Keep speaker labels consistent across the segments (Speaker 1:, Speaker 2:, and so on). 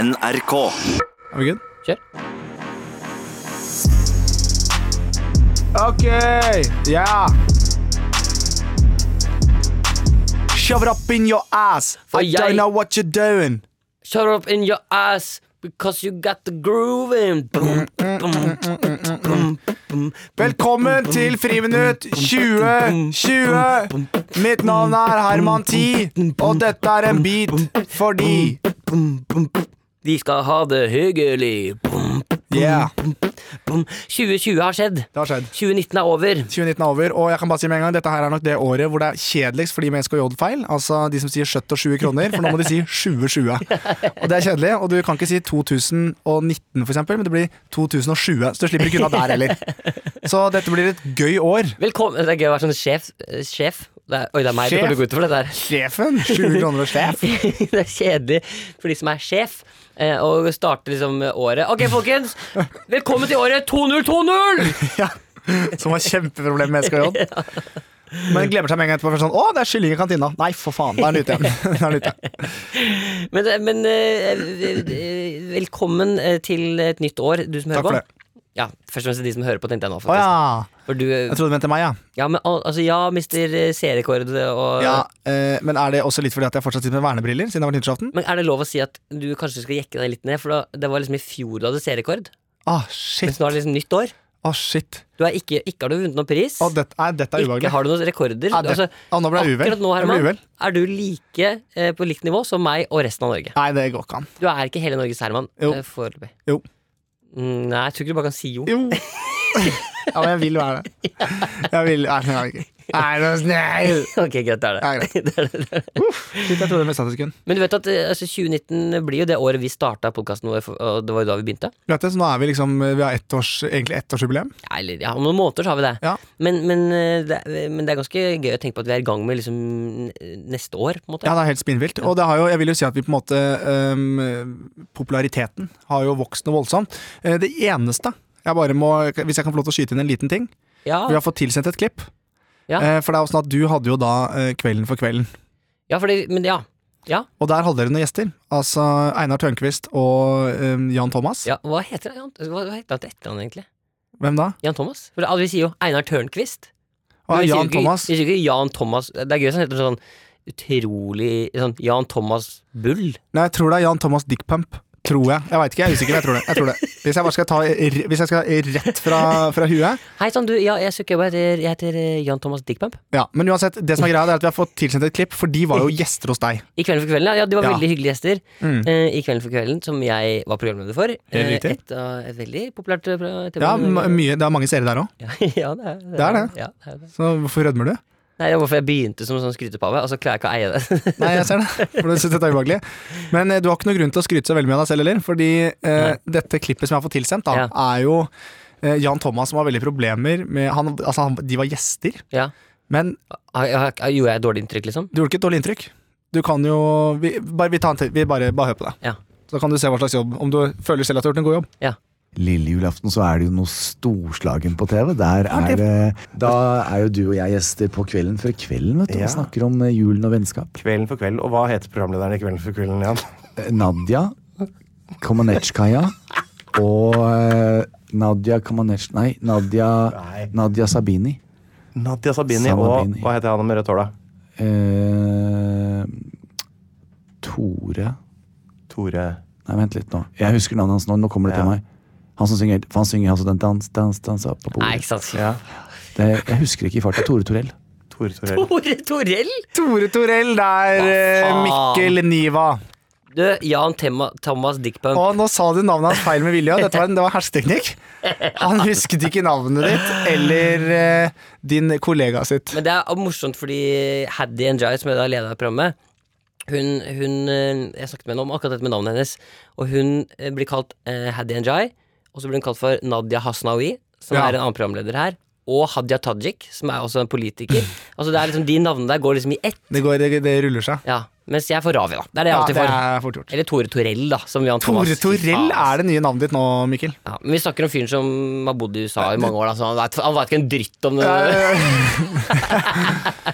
Speaker 1: NRK.
Speaker 2: Er vi good?
Speaker 3: Kjør.
Speaker 2: Ok, ja. Shove it up in your ass.
Speaker 3: For
Speaker 2: I
Speaker 3: jeg-
Speaker 2: don't know what you're doing.
Speaker 3: Shut up in your ass because you got the groove in. Boom, boom, boom, boom, boom, boom.
Speaker 2: Velkommen til Friminutt 2020. Mitt navn er Herman T, og dette er en beat fordi
Speaker 3: Vi skal ha det hyggelig. Boom,
Speaker 2: Yeah,
Speaker 3: boom. 2020 har skjedd.
Speaker 2: det har skjedd.
Speaker 3: 2019 er over.
Speaker 2: 2019 er over, og jeg kan bare si med en gang dette her er nok det året hvor det er kjedeligst for de med SKJ-feil. Altså de som sier 70 og 20 kroner, for nå må de si 2020. Og det er kjedelig, og du kan ikke si 2019 for eksempel, men det blir 2020, så du slipper ikke unna der heller. Så dette blir et gøy år.
Speaker 3: Velkommen. Det er gøy å være sånn sjef. eh, sjef. Det er, oi, det er meg. Du
Speaker 2: Sjef.
Speaker 3: kommer til å gå ut for dette her.
Speaker 2: Sjefen, 20 kroner og sjef.
Speaker 3: det er kjedelig for de som er sjef, eh, og starter liksom året. Ok, folkens. Velkommen til året 2020!
Speaker 2: Ja, som har kjempeproblemer med SKJ. Men glemmer seg med en gang etterpå. for Sånn, 'Å, det er kylling i kantina.' Nei, for faen. Da er den ute igjen. Da er den ute.
Speaker 3: Men, men eh, eh, velkommen eh, til et nytt år, du som hører
Speaker 2: Takk for
Speaker 3: på.
Speaker 2: det.
Speaker 3: Ja, først og fremst til de som hører på, tenkte jeg nå.
Speaker 2: Å
Speaker 3: faktisk.
Speaker 2: ja.
Speaker 3: For du, eh,
Speaker 2: Jeg trodde du mente meg, ja.
Speaker 3: ja, men, al- altså, ja, mister eh, serierekord og
Speaker 2: ja eh, men er det også litt fordi at jeg fortsatt sitter med vernebriller siden det har vært nyttårsaften?
Speaker 3: Men er det lov å si at du kanskje skal jekke deg litt ned? For da, det var liksom i fjor du hadde serierekord,
Speaker 2: Å, Ah, shit.
Speaker 3: mens nå er det liksom nytt år.
Speaker 2: Å, shit.
Speaker 3: Du er ikke, ikke har du vunnet noen pris.
Speaker 2: Å, dette, nei, dette er
Speaker 3: ikke
Speaker 2: ubehagelig.
Speaker 3: har du noen rekorder.
Speaker 2: Nei, det,
Speaker 3: altså,
Speaker 2: å, nå ble jeg uvel.
Speaker 3: akkurat nå,
Speaker 2: Jeg ble
Speaker 3: Herman,
Speaker 2: uvel.
Speaker 3: er du like eh, på likt nivå som meg og resten av Norge.
Speaker 2: Nei, det går ikke an.
Speaker 3: Du er ikke hele Norges Herman
Speaker 2: Jo.
Speaker 3: eh, foreløpig.
Speaker 2: Jo.
Speaker 3: Mm, Nei, jeg tror ikke du bare kan si jo.
Speaker 2: Jo. Ja, men jeg vil være det. Jeg vil Nei, jeg vil ikke. Nei, det er snill.
Speaker 3: Ok, greit, det er det.
Speaker 2: Ja, greit.
Speaker 3: det, er det, det, er det.
Speaker 2: Shit, jeg trodde jeg mistet et sekund.
Speaker 3: Men du vet at eh, altså, 2019 blir jo det året vi starta podkasten vår, for- og det var jo da vi begynte.
Speaker 2: Vet du, så nå er vi liksom Vi har ett års, egentlig ettårsjubileum.
Speaker 3: Ja, eller ja, om noen måneder så har vi det.
Speaker 2: Ja.
Speaker 3: Men, men, eh, det. er- men det er ganske gøy å tenke på at vi er i gang med liksom n- neste år, på en måte.
Speaker 2: Ja, det er helt spinnvilt. Og det har jo, jeg vil jo si at vi på en måte øhm, Populariteten har jo vokst noe voldsomt. Eh, Det eneste jeg bare må, Hvis jeg kan få lov til å skyte inn en liten ting.
Speaker 3: Ja,
Speaker 2: Vi har fått tilsendt et klipp.
Speaker 3: Ja.
Speaker 2: Eh, For det er jo sånn at du hadde jo da eh, Kvelden for kvelden.
Speaker 3: ja, fordi, men ja.
Speaker 2: Og der hadde dere noen gjester. Altså Einar Tørnquist og øhm, Jan Thomas.
Speaker 3: ja. Hva heter han? Hva hva heter han til etternavn, egentlig?
Speaker 2: Hvem da?
Speaker 3: Jan Thomas? For alle sier jo Einar Tørnquist.
Speaker 2: Og
Speaker 3: Men
Speaker 2: Ah, Jan
Speaker 3: vi sier jo ikke-
Speaker 2: Thomas.
Speaker 3: Vi sier jo ikke Jan Thomas. Det er gøy hvis han heter sånn utrolig sånn Jan Thomas Bull.
Speaker 2: Nei, jeg tror det er Jan Thomas Dickpump. Tror jeg. Jeg veit ikke, jeg er usikker, men jeg tror det. Jeg tror det. Hvis jeg bare skal ta r- Hvis jeg skal rett fra, fra huet
Speaker 3: Hei sann, du. Ja, jeg søker jobb. Jeg heter, jeg heter eh, Jan Thomas Dickpump.
Speaker 2: Ja, Men uansett, det som er greia, det er at vi har fått tilsendt et klipp, for de var jo gjester hos deg.
Speaker 3: I Kvelden for kvelden, ja. ja de var
Speaker 2: Ja.
Speaker 3: veldig hyggelige gjester.
Speaker 2: Mm.
Speaker 3: eh, I Kvelden for kvelden, som jeg var programleder for. Eh,
Speaker 2: riktig.
Speaker 3: Et, av- et veldig populært eh, pro-
Speaker 2: Ja,
Speaker 3: tema.
Speaker 2: m- mye, det er mange seere der òg,
Speaker 3: Ja, ja, det er
Speaker 2: Det er det.
Speaker 3: Ja, det er det.
Speaker 2: så hvorfor rødmer du?
Speaker 3: Nei, det var hvorfor jeg begynte som sånn skrytepave, og så klarer jeg ikke å eie det.
Speaker 2: Nei, jeg ser det, for du synes dette er ubehagelig. Men eh, du har ikke noe grunn til å skryte så veldig mye av deg selv heller, fordi eh, dette klippet som jeg har fått tilsendt, da,
Speaker 3: Ja.
Speaker 2: er jo eh, Jan Thomas som har veldig problemer med han, Altså, han, de var gjester,
Speaker 3: ja.
Speaker 2: men
Speaker 3: Har- har- har- Gjorde jeg et dårlig inntrykk, liksom?
Speaker 2: du gjorde ikke et dårlig inntrykk. Du kan jo Vi, bare, vi, tar en til, vi bare, bare hører på deg.
Speaker 3: Ja.
Speaker 2: Så kan du se hva slags jobb Om du føler selv at du har gjort en god jobb.
Speaker 4: Lille julaften så er det jo noe storslagen på TV. Der er, det- da er jo du og jeg gjester på Kvelden før kvelden. vet du,
Speaker 5: Ja.
Speaker 4: og Snakker om eh, julen og vennskap.
Speaker 5: Kvelden for kvelden. Og hva heter programlederen i Kvelden for kvelden igjen?
Speaker 4: Eh, Nadia Komanetskaya og eh, Nadia Komanetsk... Nei, Nadia,
Speaker 5: Nei.
Speaker 4: Nadia Sabini.
Speaker 5: Nadia Sabini.
Speaker 4: Sabini.
Speaker 5: Og hva heter han med rødt hår, da?
Speaker 4: Eh, Tore
Speaker 5: Tore
Speaker 4: Nei, vent litt nå. Jeg husker navnet hans nå. Nå kommer det til
Speaker 5: Ja.
Speaker 4: meg. Han som synger, for han synger altså den dans, dans, dansa på
Speaker 3: Nei,
Speaker 4: bordet.
Speaker 3: ikke sant.
Speaker 5: Ja.
Speaker 4: Det, jeg husker ikke i farta. Tore Torell.
Speaker 5: Tore Torell.
Speaker 3: Tore Torell!
Speaker 2: Tore Torell, det er eh, Mikkel Niva.
Speaker 3: Du, Jan Tema, Thomas Dickpump.
Speaker 2: Og nå sa du navnet hans feil med vilje. og Dette var, en- det var hersketeknikk. Han husket ikke navnet ditt eller eh, din kollega sitt.
Speaker 3: Men det er morsomt fordi Haddy Njay, som er da leder av programmet hun, hun, eh, Jeg snakket med henne om akkurat dette med navnet hennes. Og hun eh, blir kalt eh, Haddy Njay, og så blir hun kalt for Nadia Hasnawi, som
Speaker 2: Ja.
Speaker 3: er en annen programleder her. Og Hadia Tajik, som er også en politiker. altså det er liksom De navnene der går liksom i ett.
Speaker 2: Det, går, det, det ruller seg.
Speaker 3: Ja, Mens jeg er for Ravi, da. Det er det jeg
Speaker 2: Ja,
Speaker 3: alltid
Speaker 2: det
Speaker 3: får.
Speaker 2: er fort gjort.
Speaker 3: Eller Tore Torell, da. Som Jan Thomas.
Speaker 2: Tore Torell
Speaker 3: Ja.
Speaker 2: er det nye navnet ditt nå, Mikkel.
Speaker 3: altså. ja, Men vi snakker om fyren som har bodd i USA i mange år, da, så han vet, han vet ikke en dritt om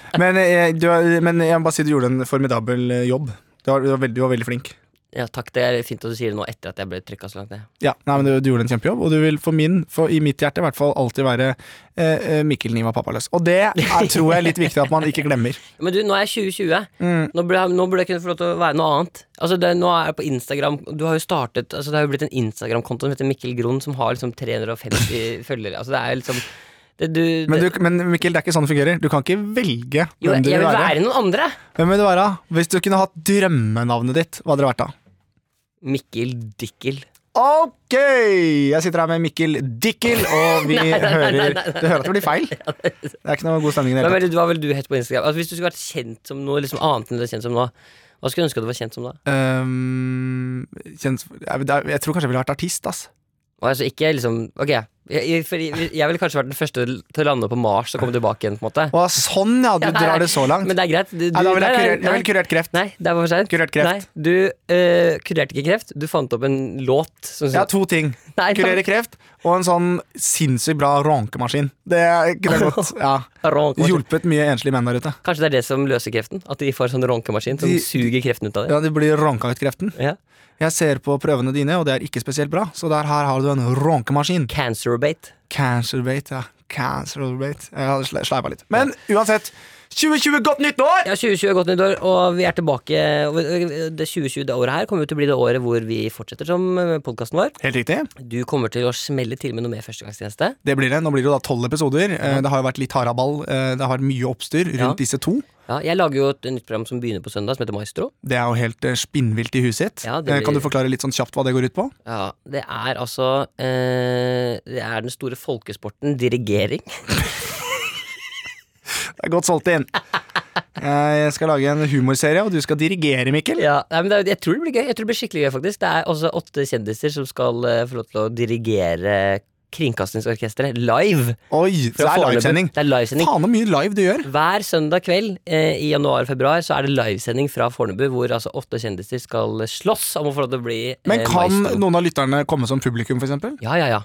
Speaker 3: det.
Speaker 2: men, eh, du, er- men jeg må bare si du gjorde en formidabel eh, jobb. Du var, du var, veldig, du var veldig flink.
Speaker 3: Ja, takk, det er fint at du sier det nå etter at jeg ble trykka så langt ned.
Speaker 2: Ja, nei, men du, du gjorde en kjempejobb, og du vil for min, for i mitt hjerte i hvert fall, alltid være eh, eh, Mikkel Niva pappaløs. Og det er, tror jeg er litt viktig at man ikke glemmer.
Speaker 3: Men du, nå er jeg 2020.
Speaker 2: Mm.
Speaker 3: Nå burde, jeg, nå burde jeg kunne få lov til å være noe annet. Altså det, nå er jeg på Instagram Du har jo startet altså Det har jo blitt en Instagram-konto som heter Mikkel Gron, som har liksom 350 følgere. Altså det er jo liksom det, du,
Speaker 2: Men,
Speaker 3: det,
Speaker 2: du, men Mikkel, det er ikke sånn det fungerer. Du kan ikke velge
Speaker 3: jo,
Speaker 2: hvem
Speaker 3: jeg,
Speaker 2: du
Speaker 3: jeg
Speaker 2: vil
Speaker 3: vil
Speaker 2: være.
Speaker 3: være noen andre.
Speaker 2: Hvem vil du være? Hvis du kunne hatt drømmenavnet ditt, hva hadde det vært da?
Speaker 3: Mikkel Dikkel.
Speaker 2: Ok! Jeg sitter her med Mikkel Dikkel, og vi hører Du hører at det blir feil? Det er ikke noe god stemning i det
Speaker 3: Hva
Speaker 2: hele tatt.
Speaker 3: ville du, hva ville du hett på Instagram? Altså, hvis du skulle vært kjent som noe liksom annet enn du er kjent som nå, hva skulle du ønske at du var kjent som da?
Speaker 2: Ehm, kjennes- jeg, jeg tror kanskje jeg ville vært artist, ass.
Speaker 3: Og altså ikke liksom Ok, jeg, jeg, fordi jeg ville kanskje vært den første til å lande på Mars og komme tilbake igjen, på en måte.
Speaker 2: Å, sånn ja, du drar det så langt.
Speaker 3: Men det er greit. Du, du,
Speaker 2: Nei, da ville jeg
Speaker 3: nei, nei,
Speaker 2: kurert, jeg ville kurert kreft.
Speaker 3: Nei, det er for seint.
Speaker 2: Kurert kreft.
Speaker 3: Nei, du eh, kurerte ikke kreft. Du fant opp en låt. Som,
Speaker 2: Jeg har to ting.
Speaker 3: altså- Nei,
Speaker 2: Kurere kreft og en sånn sinnssykt bra ronkemaskin. Det kunne jeg godt ja.
Speaker 3: Ronkemaskin.
Speaker 2: hjulpet mye enslige menn der ute.
Speaker 3: Kanskje det er det som løser kreften? At de får sånn ronkemaskin som
Speaker 2: De-
Speaker 3: suger kreften ut av dem?
Speaker 2: Ja, De blir ronka ut kreften.
Speaker 3: Ja.
Speaker 2: Jeg ser på prøvene dine, og det er ikke spesielt bra, så der her har du en ronkemaskin.
Speaker 3: Cancerbate.
Speaker 2: Cancerbate, ja. Cancerbate. Jeg hadde sle- sleipa litt. Men uansett, 2020, godt nytt år!
Speaker 3: Ja, 2020 er godt nyttår, og vi er tilbake. Og Det 2020 det året her kommer jo til å bli det året hvor vi fortsetter som podkasten vår.
Speaker 2: Helt riktig.
Speaker 3: Du kommer til å smelle til med noe mer førstegangstjeneste.
Speaker 2: Det blir det. Nå blir det jo da tolv episoder. Eh, Det har jo vært litt haraball. eh, Det har vært mye oppstyr rundt
Speaker 3: Ja.
Speaker 2: disse to.
Speaker 3: Ja, jeg lager jo et nytt program som begynner på søndag, som heter Maestro.
Speaker 2: Det er jo helt eh, spinnvilt i huset sitt.
Speaker 3: Ja, det
Speaker 2: Eh,
Speaker 3: blir-
Speaker 2: Kan du forklare litt sånn kjapt hva det går ut på?
Speaker 3: Ja, Det er altså eh, Det er den store folkesporten dirigering.
Speaker 2: Det er godt solgt inn. Eh, Jeg skal lage en humorserie, og du skal dirigere, Mikkel.
Speaker 3: Ja, nei, men det, er- jeg tror det blir gøy. Jeg tror det blir skikkelig gøy, faktisk. Det er også åtte kjendiser som skal eh, få lov til å dirigere Kringkastingsorkesteret live.
Speaker 2: Oi, så det
Speaker 3: fra
Speaker 2: er
Speaker 3: Fornebu.
Speaker 2: livesending.
Speaker 3: Det er livesending.
Speaker 2: Faen så mye live du gjør.
Speaker 3: Hver søndag kveld eh, i januar og februar så er det livesending fra Fornebu, hvor altså åtte kjendiser skal slåss om å få lov til å bli eh,
Speaker 2: Men kan
Speaker 3: maestro.
Speaker 2: noen av lytterne komme som publikum, for eksempel?
Speaker 3: Ja, ja, ja.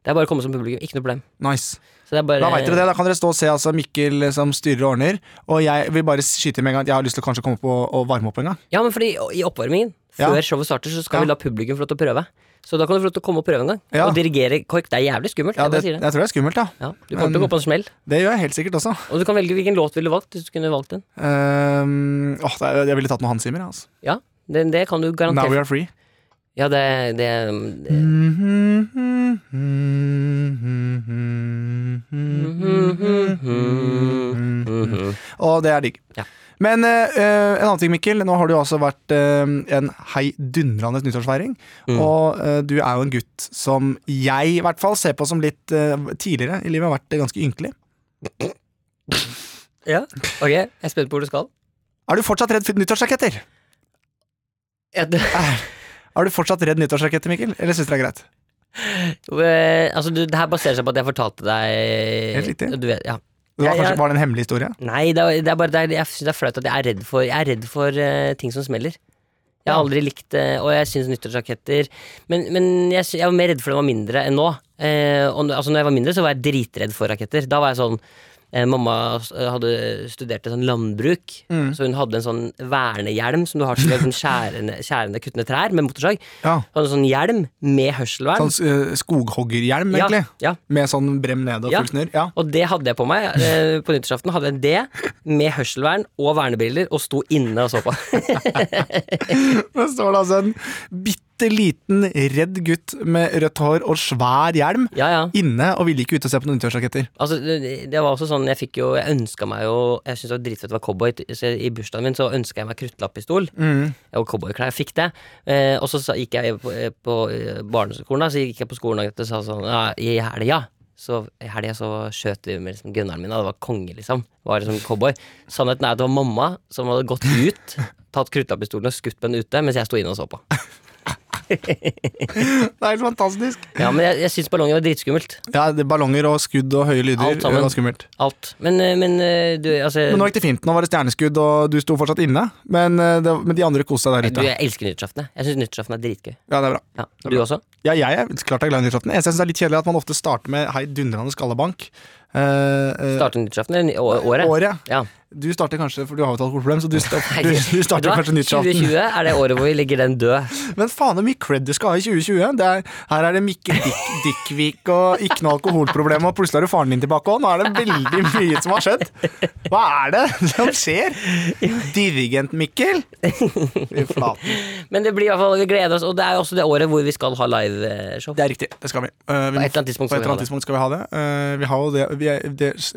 Speaker 3: Det er bare å komme som publikum. Ikke noe problem.
Speaker 2: Nice.
Speaker 3: Så det er bare
Speaker 2: Da vet dere det. Da kan dere stå og se altså, Mikkel som styrer og ordner. Og jeg vil bare skyte inn med en gang at jeg har lyst til å kanskje komme på og varme opp en gang.
Speaker 3: Ja, men fordi i oppvarmingen,
Speaker 2: Ja.
Speaker 3: før showet starter, så skal
Speaker 2: Ja.
Speaker 3: vi la publikum få lov til å prøve. Så da kan du få lov til å komme og prøve en gang.
Speaker 2: Ja.
Speaker 3: Og dirigere KORK. Det er jævlig skummelt.
Speaker 2: Ja,
Speaker 3: jeg
Speaker 2: det,
Speaker 3: bare
Speaker 2: jeg
Speaker 3: sier det.
Speaker 2: tror det er skummelt, ja.
Speaker 3: Ja, du kommer til
Speaker 2: Men-
Speaker 3: å gå på en smell.
Speaker 2: Det gjør jeg helt sikkert også.
Speaker 3: Og du kan velge hvilken låt ville du valgt hvis du kunne valgt den.
Speaker 2: Ehm, åh, det er- jeg ville tatt noe Hans Zimmer. Altså.
Speaker 3: Ja, det, det kan du
Speaker 2: Now we
Speaker 3: garantere.
Speaker 2: are free.
Speaker 3: Ja, det, det, det.
Speaker 2: Mm-hmm.
Speaker 3: Mhm.
Speaker 2: Og det er digg.
Speaker 3: Ja.
Speaker 2: Men eh, eh, en annen ting, Mikkel. Nå har det jo altså vært eh, en heidundrende nyttårsfeiring.
Speaker 3: Mm.
Speaker 2: Og eh, du er jo en gutt som jeg i hvert fall ser på som litt eh, tidligere i livet har vært eh, ganske ynkelig.
Speaker 3: Ja, ok. Jeg er spent på hvor du skal.
Speaker 2: Er du fortsatt redd for nyttårsraketter?
Speaker 3: Ja, det-
Speaker 2: Er du fortsatt redd nyttårsraketter, Mikkel? Eller syns du det er greit?
Speaker 3: Eh, altså, du, det her baserer seg på at jeg fortalte
Speaker 2: Helt
Speaker 3: deg
Speaker 2: riktig.
Speaker 3: Du vet, ja.
Speaker 2: Det var,
Speaker 3: Ja,
Speaker 2: kanskje,
Speaker 3: ja.
Speaker 2: var det en hemmelig historie?
Speaker 3: Nei, det er, det er bare, det er, jeg syns det er flaut at jeg er redd for, jeg er redd for eh, ting som smeller. Jeg har
Speaker 2: Ja.
Speaker 3: aldri likt det, og jeg syns nyttårsraketter Men, men jeg, sy- jeg var mer redd for da jeg var mindre enn nå. Eh, og, nå- altså, når jeg var mindre, så var jeg dritredd for raketter. Da var jeg sånn eh, Mamma s- hadde studert et sånn landbruk,
Speaker 2: Mm.
Speaker 3: så hun hadde en sånn vernehjelm som du har til å liksom, skjære ned- skjære ned kuttende trær med motorsag.
Speaker 2: Ja.
Speaker 3: Så hadde hun en sånn hjelm med hørselvern.
Speaker 2: Sånn eh, skoghoggerhjelm, egentlig.
Speaker 3: Ja, ja.
Speaker 2: Med sånn brem ned og
Speaker 3: Ja.
Speaker 2: full snurr. Ja.
Speaker 3: Og det hadde jeg på meg eh, på nyttårsaften. Hadde jeg det med hørselvern og vernebriller og sto inne og så på.
Speaker 2: Det står det altså en bitte liten redd gutt med rødt hår og svær hjelm
Speaker 3: Ja, ja.
Speaker 2: inne og ville ikke ut og se på noen nyttårsraketter.
Speaker 3: Altså, det det var også sånn, jeg fikk jo, jeg ønska meg jo Jeg syntes det var dritfett å være cowboy. Så jeg- I bursdagen min så ønska jeg meg kruttlappistol og cowboyklær. Jeg fikk det. Eh, og så sa- gikk jeg på, eh, på eh, barneskolen, da, så gikk jeg på skolen og sa sånn ja, I helga så, i helga så skjøt vi med liksom, gunneren min. da. Det var konge, liksom. Var liksom cowboy. Sannheten er at det var mamma som hadde gått ut, tatt kruttlapppistolen og skutt med den ute, mens jeg sto inne og så på.
Speaker 2: Det er helt fantastisk.
Speaker 3: Ja, Men jeg, jeg syns ballongen var dritskummelt.
Speaker 2: Ja, det er Ballonger og skudd og høye lyder.
Speaker 3: Alt sammen.
Speaker 2: Det var skummelt.
Speaker 3: Alt. Men, eh, men eh, du, altså
Speaker 2: Men nå gikk det fint. Nå var det stjerneskudd, og du sto fortsatt inne. Men, eh, det, men de andre koste seg der
Speaker 3: du,
Speaker 2: ute.
Speaker 3: Jeg elsker nyttårsaften. jeg. Jeg syns nyttårsaften er dritgøy.
Speaker 2: Ja, det er bra.
Speaker 3: Ja, du også?
Speaker 2: Ja, jeg er klart jeg er glad i nyttårsaften. Jeg synes det er litt kjedelig at man ofte starter med hei, dundrende skallebank. eh, eh,
Speaker 3: Starte nyttårsaften eller ny- å- året?
Speaker 2: Året.
Speaker 3: Ja.
Speaker 2: Du starter kanskje, for du har jo et alkoholproblem, så du, sta-
Speaker 3: Nei,
Speaker 2: du, du
Speaker 3: vet du
Speaker 2: starter
Speaker 3: hva?
Speaker 2: kanskje nyttårsaften.
Speaker 3: 2020 er det året hvor vi ligger den død.
Speaker 2: Men faen så mye cred du skal ha i 2020. Det er, her er det Mikke Dick, Dickvik og ikke noe alkoholproblem, og plutselig har du faren din tilbake òg. Nå er det veldig mye som har skjedd. Hva er det som skjer? Dirigent-Mikkel? Fy flaten.
Speaker 3: Men det blir i hvert fall, vi gleder oss, og det er jo også det året hvor vi skal ha liveshow.
Speaker 2: Det er riktig, det skal vi. Eh, vi
Speaker 3: På
Speaker 2: må-
Speaker 3: et eller annet tidspunkt
Speaker 2: på et eller annet
Speaker 3: skal vi ha det.
Speaker 2: tidspunkt skal vi ha det. Eh, vi har jo det, vi er,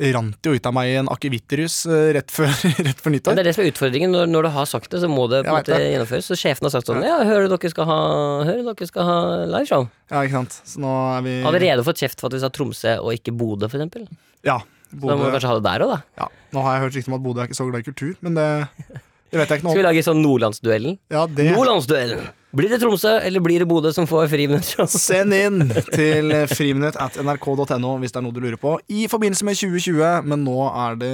Speaker 2: det rant jo ut av meg i en akevitterus eh, rett, før- rett før
Speaker 3: Men
Speaker 2: nyttår.
Speaker 3: det er det som er utfordringen. Når, når du har sagt det, så må det
Speaker 2: Jeg
Speaker 3: på en
Speaker 2: vet
Speaker 3: måte
Speaker 2: det.
Speaker 3: gjennomføres. Så sjefen har sagt sånn Ja, hører dere skal ha, hører dere skal ha liveshow?
Speaker 2: Ja, ikke sant. Så nå er vi
Speaker 3: Allerede fått kjeft for at vi sa Tromsø og ikke Bodø, for eksempel.
Speaker 2: Ja,
Speaker 3: Så da må vi
Speaker 2: Bodø.
Speaker 3: kanskje ha det der òg, da.
Speaker 2: Ja. Nå har jeg hørt rykter om at Bodø er ikke så glad i kultur, men det, det vet jeg ikke
Speaker 3: Skal
Speaker 2: noe
Speaker 3: vi
Speaker 2: om.
Speaker 3: lage sånn Nordlandsduellen?
Speaker 2: Ja, det
Speaker 3: Nordlandsduellen! Blir det Tromsø, eller blir det Bodø som får friminutter?
Speaker 2: Send inn til friminutt at nrk.no hvis det er noe du lurer på i forbindelse med 2020. Men nå er det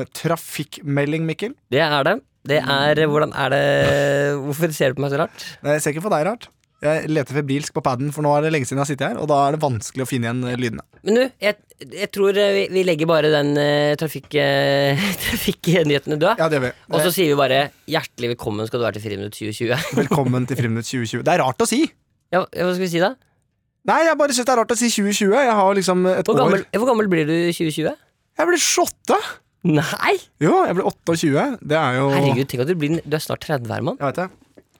Speaker 2: trafikkmelding, Mikkel.
Speaker 3: Det er det. Det er eh, Hvordan er det Hvorfor ser du på meg så rart?
Speaker 2: Nei, Jeg ser ikke på deg rart. Jeg leter febrilsk på paden, for nå er det lenge siden jeg har sittet her. Og da er det vanskelig å finne igjen eh, lydene.
Speaker 3: Men du, jeg, jeg tror eh, vi, vi legger bare den eh, trafikk, eh, trafikknyheten død.
Speaker 2: Ja, det gjør vi.
Speaker 3: Og så sier vi bare 'hjertelig velkommen skal du være til Friminutt 2020'. ja,
Speaker 2: Velkommen til Friminutt 2020. Det er rart å si!
Speaker 3: ja, hva skal vi si da?
Speaker 2: Nei, jeg bare syns det er rart å si 2020. Jeg har liksom et
Speaker 3: Hvor gammel,
Speaker 2: år
Speaker 3: hvor gammel blir du i 2020?
Speaker 2: Jeg ble 28!
Speaker 3: Nei!
Speaker 2: Jo, jeg ble 28. Det er jo
Speaker 3: Herregud, tenk at du blir Du er snart 30 her, mann.
Speaker 2: Jeg vet det.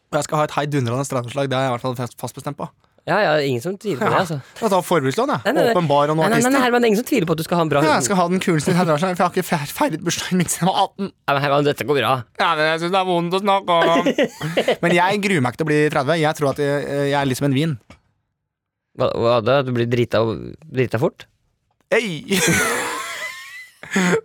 Speaker 2: Og jeg skal ha et heidundrende 30-årslag. Det er jeg i hvert fall fast- fast bestemt på.
Speaker 3: Ja, ja, ingen som tviler på det, altså.
Speaker 2: Jeg tar forbrukslån,
Speaker 3: Nei,
Speaker 2: jeg.
Speaker 3: nei, nei.
Speaker 2: Åpenbar og
Speaker 3: Nei,
Speaker 2: noen
Speaker 3: nei, nei,
Speaker 2: artister.
Speaker 3: Herman, det er ingen som tviler på at du skal ha en bra
Speaker 2: Ja, jeg
Speaker 3: hund.
Speaker 2: skal ha den kuleste heidundrende, for jeg har ikke fe- feiret bursdagen min siden jeg var 18.
Speaker 3: Nei, men Herman, dette går bra.
Speaker 2: Ja, men jeg syns det er vondt å snakke om. Men jeg gruer meg ikke til å bli 30. Jeg tror at jeg, jeg er litt som en vin.
Speaker 3: Hva, hva da? Du blir drita, drita fort?
Speaker 2: Ei!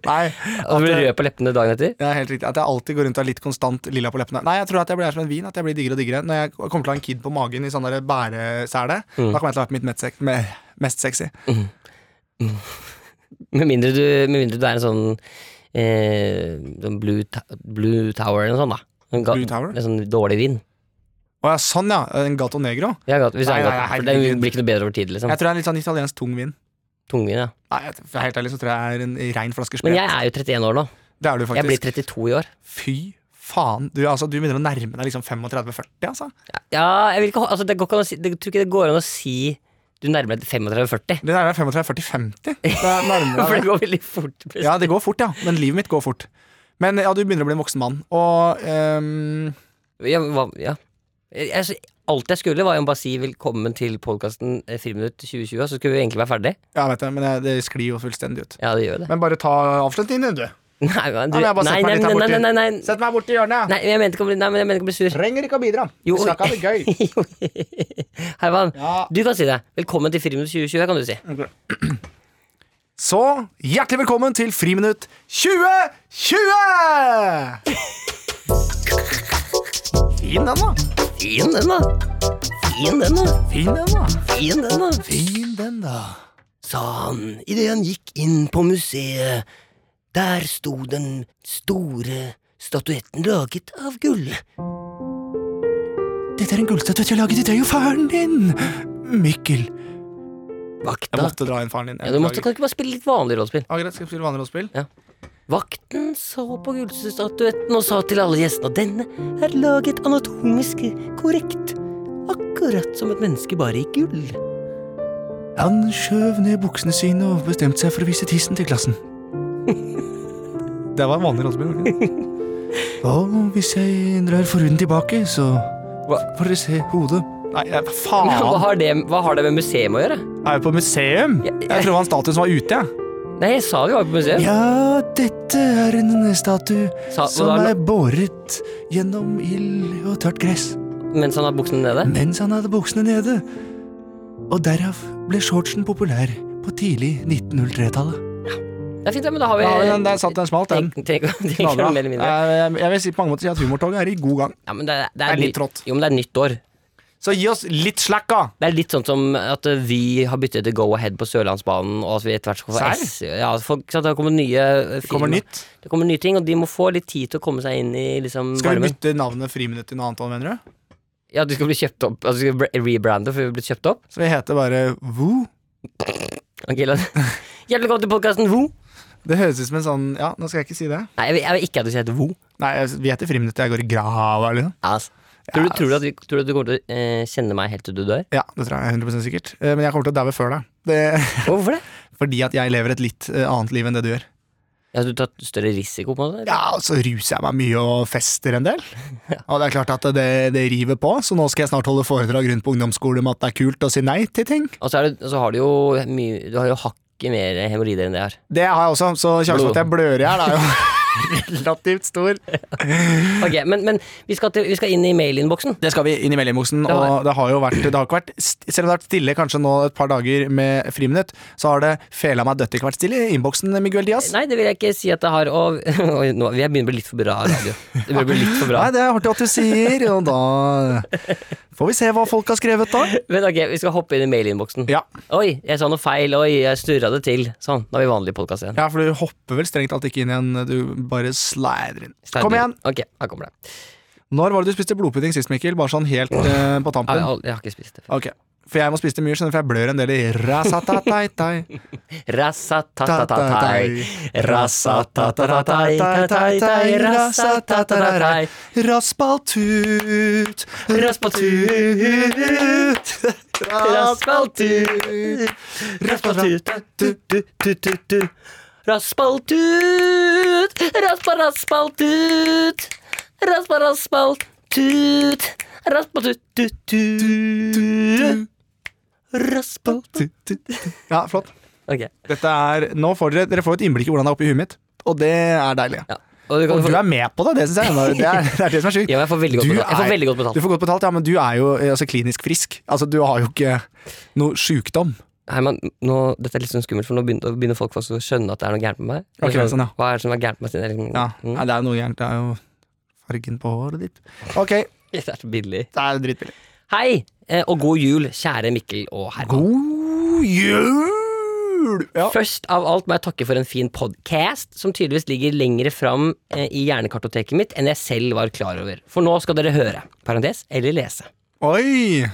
Speaker 2: Nei,
Speaker 3: Og Altså, du blir rød på leppene dagen etter?
Speaker 2: det er helt riktig. At jeg alltid går rundt og er litt konstant lilla på leppene. Nei, jeg tror at jeg blir som en vin. At jeg blir diggere og diggere. Når jeg kommer til å ha en kid på magen i sånn der bæresele,
Speaker 3: Mm.
Speaker 2: da kommer jeg til å være på mitt mest sek- me- mest sexy.
Speaker 3: Med mindre du, med mindre du er en sånn eh, sånn blue, ta blue Tower eller noe sånt, da. En ga-
Speaker 2: Blue Tower?
Speaker 3: En sånn dårlig vin.
Speaker 2: Å ja, sånn ja. En Gato Negro.
Speaker 3: Ja, godt, hvis
Speaker 2: Nei, nei,
Speaker 3: det er godt,
Speaker 2: nei,
Speaker 3: for den
Speaker 2: herregud.
Speaker 3: blir ikke noe bedre over tid, liksom.
Speaker 2: Jeg tror det er en litt sånn italiensk tung vin.
Speaker 3: Tungvin, ja.
Speaker 2: Nei, jeg- for helt ærlig så tror jeg er en rein flaske
Speaker 3: Men
Speaker 2: sprit.
Speaker 3: jeg er jo 31 år nå.
Speaker 2: Det er du
Speaker 3: Jeg blir
Speaker 2: faktisk.
Speaker 3: 32 i år.
Speaker 2: Fy faen. Du, altså, du begynner å nærme deg liksom 35-40, altså.
Speaker 3: Ja, jeg vil ikke ha- altså, det går ikke an å si, det, jeg tror ikke det går an å si du nærmer deg 35-40.
Speaker 2: Det nærmer deg 35-40-50. Det er nærmere
Speaker 3: For det
Speaker 2: deg det.
Speaker 3: går veldig fort. plutselig.
Speaker 2: Ja, det går fort, ja. Men livet mitt går fort. Men ja, du begynner å bli en voksen mann. Og ehm,
Speaker 3: Ja, hva, ja. Jeg, jeg, alt jeg skulle, var jo bare si velkommen til podkasten Friminutt 2020, og så skulle vi egentlig være ferdig.
Speaker 2: Ja, vet jeg, men det, det sklir jo fullstendig ut.
Speaker 3: Ja, det gjør jo det.
Speaker 2: Men bare ta avslutningen, du.
Speaker 3: Nei, men du,
Speaker 2: men jeg bare
Speaker 3: nei,
Speaker 2: setter
Speaker 3: nei,
Speaker 2: meg litt her
Speaker 3: nei, nei, nei,
Speaker 2: borti.
Speaker 3: nei, nei,
Speaker 2: Sett meg borti hjørnet.
Speaker 3: nei, jeg mente ikke å bli, nei, men jeg mente ikke å bli sur.
Speaker 2: Trenger ikke å bidra.
Speaker 3: Jo.
Speaker 2: Vi snakker om det gøy.
Speaker 3: Herman,
Speaker 2: Ja. Mm.
Speaker 3: du kan si det. Velkommen til Friminutt 2020, kan du si.
Speaker 2: Så hjertelig velkommen til Friminutt 2020! Fin den, da.
Speaker 3: Fin den, da. Fin den, da.
Speaker 2: Fin den, da.
Speaker 3: Fin den, da.
Speaker 2: Fin den, da.
Speaker 3: Sa han idet han gikk inn på museet. Der sto den store statuetten laget av gull.
Speaker 2: Dette er en gullstatuett jeg laget til deg og faren din, Mikkel. Jeg
Speaker 3: Vakta.
Speaker 2: måtte dra inn faren din.
Speaker 3: Ja, du måtte, kan du ikke bare spille litt vanlig rollespill?
Speaker 2: Ja, greit, skal vi spille vanlig rollespill?
Speaker 3: Vakten så på gullstatuetten og sa til alle gjestene at denne er laget anatomisk korrekt. Akkurat som et menneske, bare i gull.
Speaker 2: Han skjøv ned buksene sine og bestemte seg for å vise tissen til klassen. Det var en vanlig rollespill. var det ikke det? Og hvis jeg drar forhuden tilbake, så
Speaker 3: Hva?
Speaker 2: får dere se hodet. Nei, jeg- faen!
Speaker 3: Men hva har, det, hva har det med museum å gjøre?
Speaker 2: Er vi på museum?
Speaker 3: Ja,
Speaker 2: Jeg
Speaker 3: ja.
Speaker 2: tror det var en statue som var ute, jeg.
Speaker 3: Nei, jeg sa vi var på museum.
Speaker 2: Ja, dette er en statue
Speaker 3: Sa,
Speaker 2: som
Speaker 3: hva da,
Speaker 2: er båret gjennom ild og tørt gress
Speaker 3: mens han har buksene nede?
Speaker 2: mens han hadde buksene nede. Og derav ble shortsen populær på tidlig 1903-tallet.
Speaker 3: Det er fint, ja, men da har vi
Speaker 2: Ja, den, den satt den smalt, den.
Speaker 3: Tenk, tenk, tenk,
Speaker 2: Knallbra.
Speaker 3: mer eller mindre.
Speaker 2: Eh, Jeg, jeg vil si på mange måter si at humortoget er i god gang.
Speaker 3: Ja, men det, er- det
Speaker 2: Det
Speaker 3: er
Speaker 2: er litt
Speaker 3: ny-
Speaker 2: trått.
Speaker 3: Jo, men det er nytt år.
Speaker 2: Så gi oss litt slack, da!
Speaker 3: Det er litt sånn som at eh, vi har byttet til Go Ahead på Sørlandsbanen, og at vi etter hvert skal få
Speaker 2: Serr?
Speaker 3: S. Ja, folk, ikke sant, det kommer nye eh,
Speaker 2: Det kommer
Speaker 3: firma.
Speaker 2: nytt.
Speaker 3: Det kommer nye ting, og de må få litt tid til å komme seg inn i liksom,
Speaker 2: Skal vi
Speaker 3: varmen.
Speaker 2: bytte navnet Friminutt til noe annet, mener du?
Speaker 3: Ja, du skal bli kjøpt opp. Altså, du skal bli rebrande for vi har blitt kjøpt opp.
Speaker 2: Så vi heter bare Woo.
Speaker 3: Ok, la- Hjertelig velkommen til podkasten Vo.
Speaker 2: Det høres ut som en sånn Ja, nå skal jeg ikke si det.
Speaker 3: Nei, jeg vil, jeg vil ikke at du sier et vo.
Speaker 2: Nei, jeg- vi heter Friminutt, jeg går i grava, liksom.
Speaker 3: Ass. Tror, du, tror, du at, vi- tror du at du kommer til å eh, kjenne meg helt til du dør?
Speaker 2: Ja, det tror jeg er 100 sikkert. Eh, Men jeg kommer til å daue før deg. Det,
Speaker 3: Hvorfor det?
Speaker 2: fordi at jeg lever et litt eh, annet liv enn det du gjør.
Speaker 3: Ja, du tar større risiko på det? eller?
Speaker 2: Ja, og så ruser jeg meg mye og fester en del. Og det er klart at det, det river på, så nå skal jeg snart holde foredrag rundt på ungdomsskolen om at det er kult å si nei til ting.
Speaker 3: Og så, er det, så har du jo mye Du har jo hakket mer hemoroider enn det jeg har.
Speaker 2: Det har jeg også, så sjansen for at jeg blør i hjel er jo relativt stor.
Speaker 3: Ok, men, men vi, skal til, vi skal inn i mailinnboksen.
Speaker 2: Det skal vi inn i meldingmoksen,
Speaker 3: Det har
Speaker 2: og det har jo vært, det har ikke vært st- Selv om det har vært stille kanskje nå et par dager med friminutt, så har det fela meg dødt ikke vært stille i innboksen, Miguel Diaz.
Speaker 3: Nei, det vil jeg ikke si at det har. Og, og nå, jeg begynner å bli litt for bra radio. Det begynner å bli litt for bra.
Speaker 2: Nei, det er artig at du sier, og da får vi se hva folk har skrevet da.
Speaker 3: Men ok, vi skal hoppe inn i mailinnboksen.
Speaker 2: Ja.
Speaker 3: Oi, jeg sa noe feil. Oi, jeg snurra det til. Sånn, da er vi vanlig i podkast igjen.
Speaker 2: ja, for du hopper vel strengt tatt ikke inn igjen, du bare slider inn.
Speaker 3: Stein-
Speaker 2: Kom igjen!
Speaker 3: Ok, her kommer det.
Speaker 2: Når var det du spiste blodpudding sist, Mikkel? Bare sånn helt eh, på
Speaker 3: Jeg,
Speaker 2: tampen.
Speaker 3: har aldri- jeg har ikke spist det før.
Speaker 2: Ok, for jeg må spise det mye, skjønner du, for jeg blør en del i rasatataitai.
Speaker 3: Rasatatatai. Rasatatatatatai. Rasatatatai.
Speaker 2: Raspaltut, raspaltut,
Speaker 3: Raspaltut. Raspatut. Tu-tu-tu-tu. Raspaltut. Raspa-raspaltut. Raspa-raspaltut. Raspatut-tut-tut. Raspaltut.
Speaker 2: Ja, flott.
Speaker 3: Ok.
Speaker 2: Dette er, nå får dere, dere får et innblikk i hvordan det er oppi huet mitt, og det er deilig.
Speaker 3: Ja. Og du kan
Speaker 2: Og
Speaker 3: få-
Speaker 2: du er med på det, det syns jeg. er- Det er, det er det som er sjukt.
Speaker 3: Ja, men jeg får veldig godt
Speaker 2: Du
Speaker 3: betalt. Jeg får
Speaker 2: er-
Speaker 3: veldig godt betalt.
Speaker 2: Du får godt betalt, ja, men du er jo eh, altså, klinisk frisk. Altså, du har jo ikke noe sjukdom.
Speaker 3: Herman, nå, dette er litt sånn skummelt, for nå begynner, begynner folk faktisk å skjønne at det er noe gærent med meg.
Speaker 2: Ok,
Speaker 3: Eller
Speaker 2: sånn, ja.
Speaker 3: Hva er det som er gærent med meg? Det er liksom-
Speaker 2: Ja,
Speaker 3: Mm.
Speaker 2: Nei, det er noe gærent. Det er jo fargen på håret ditt. Ok,
Speaker 3: Det er så billig.
Speaker 2: det er dritbillig.
Speaker 3: Hei, eh, og god jul, kjære Mikkel og Herman.
Speaker 2: God jul! Ja.
Speaker 3: Først av alt må jeg takke for en fin podcast, som tydeligvis ligger lengre fram eh, i hjernekartoteket mitt enn jeg selv var klar over. For nå skal dere høre, parentes, eller lese.
Speaker 2: Oi!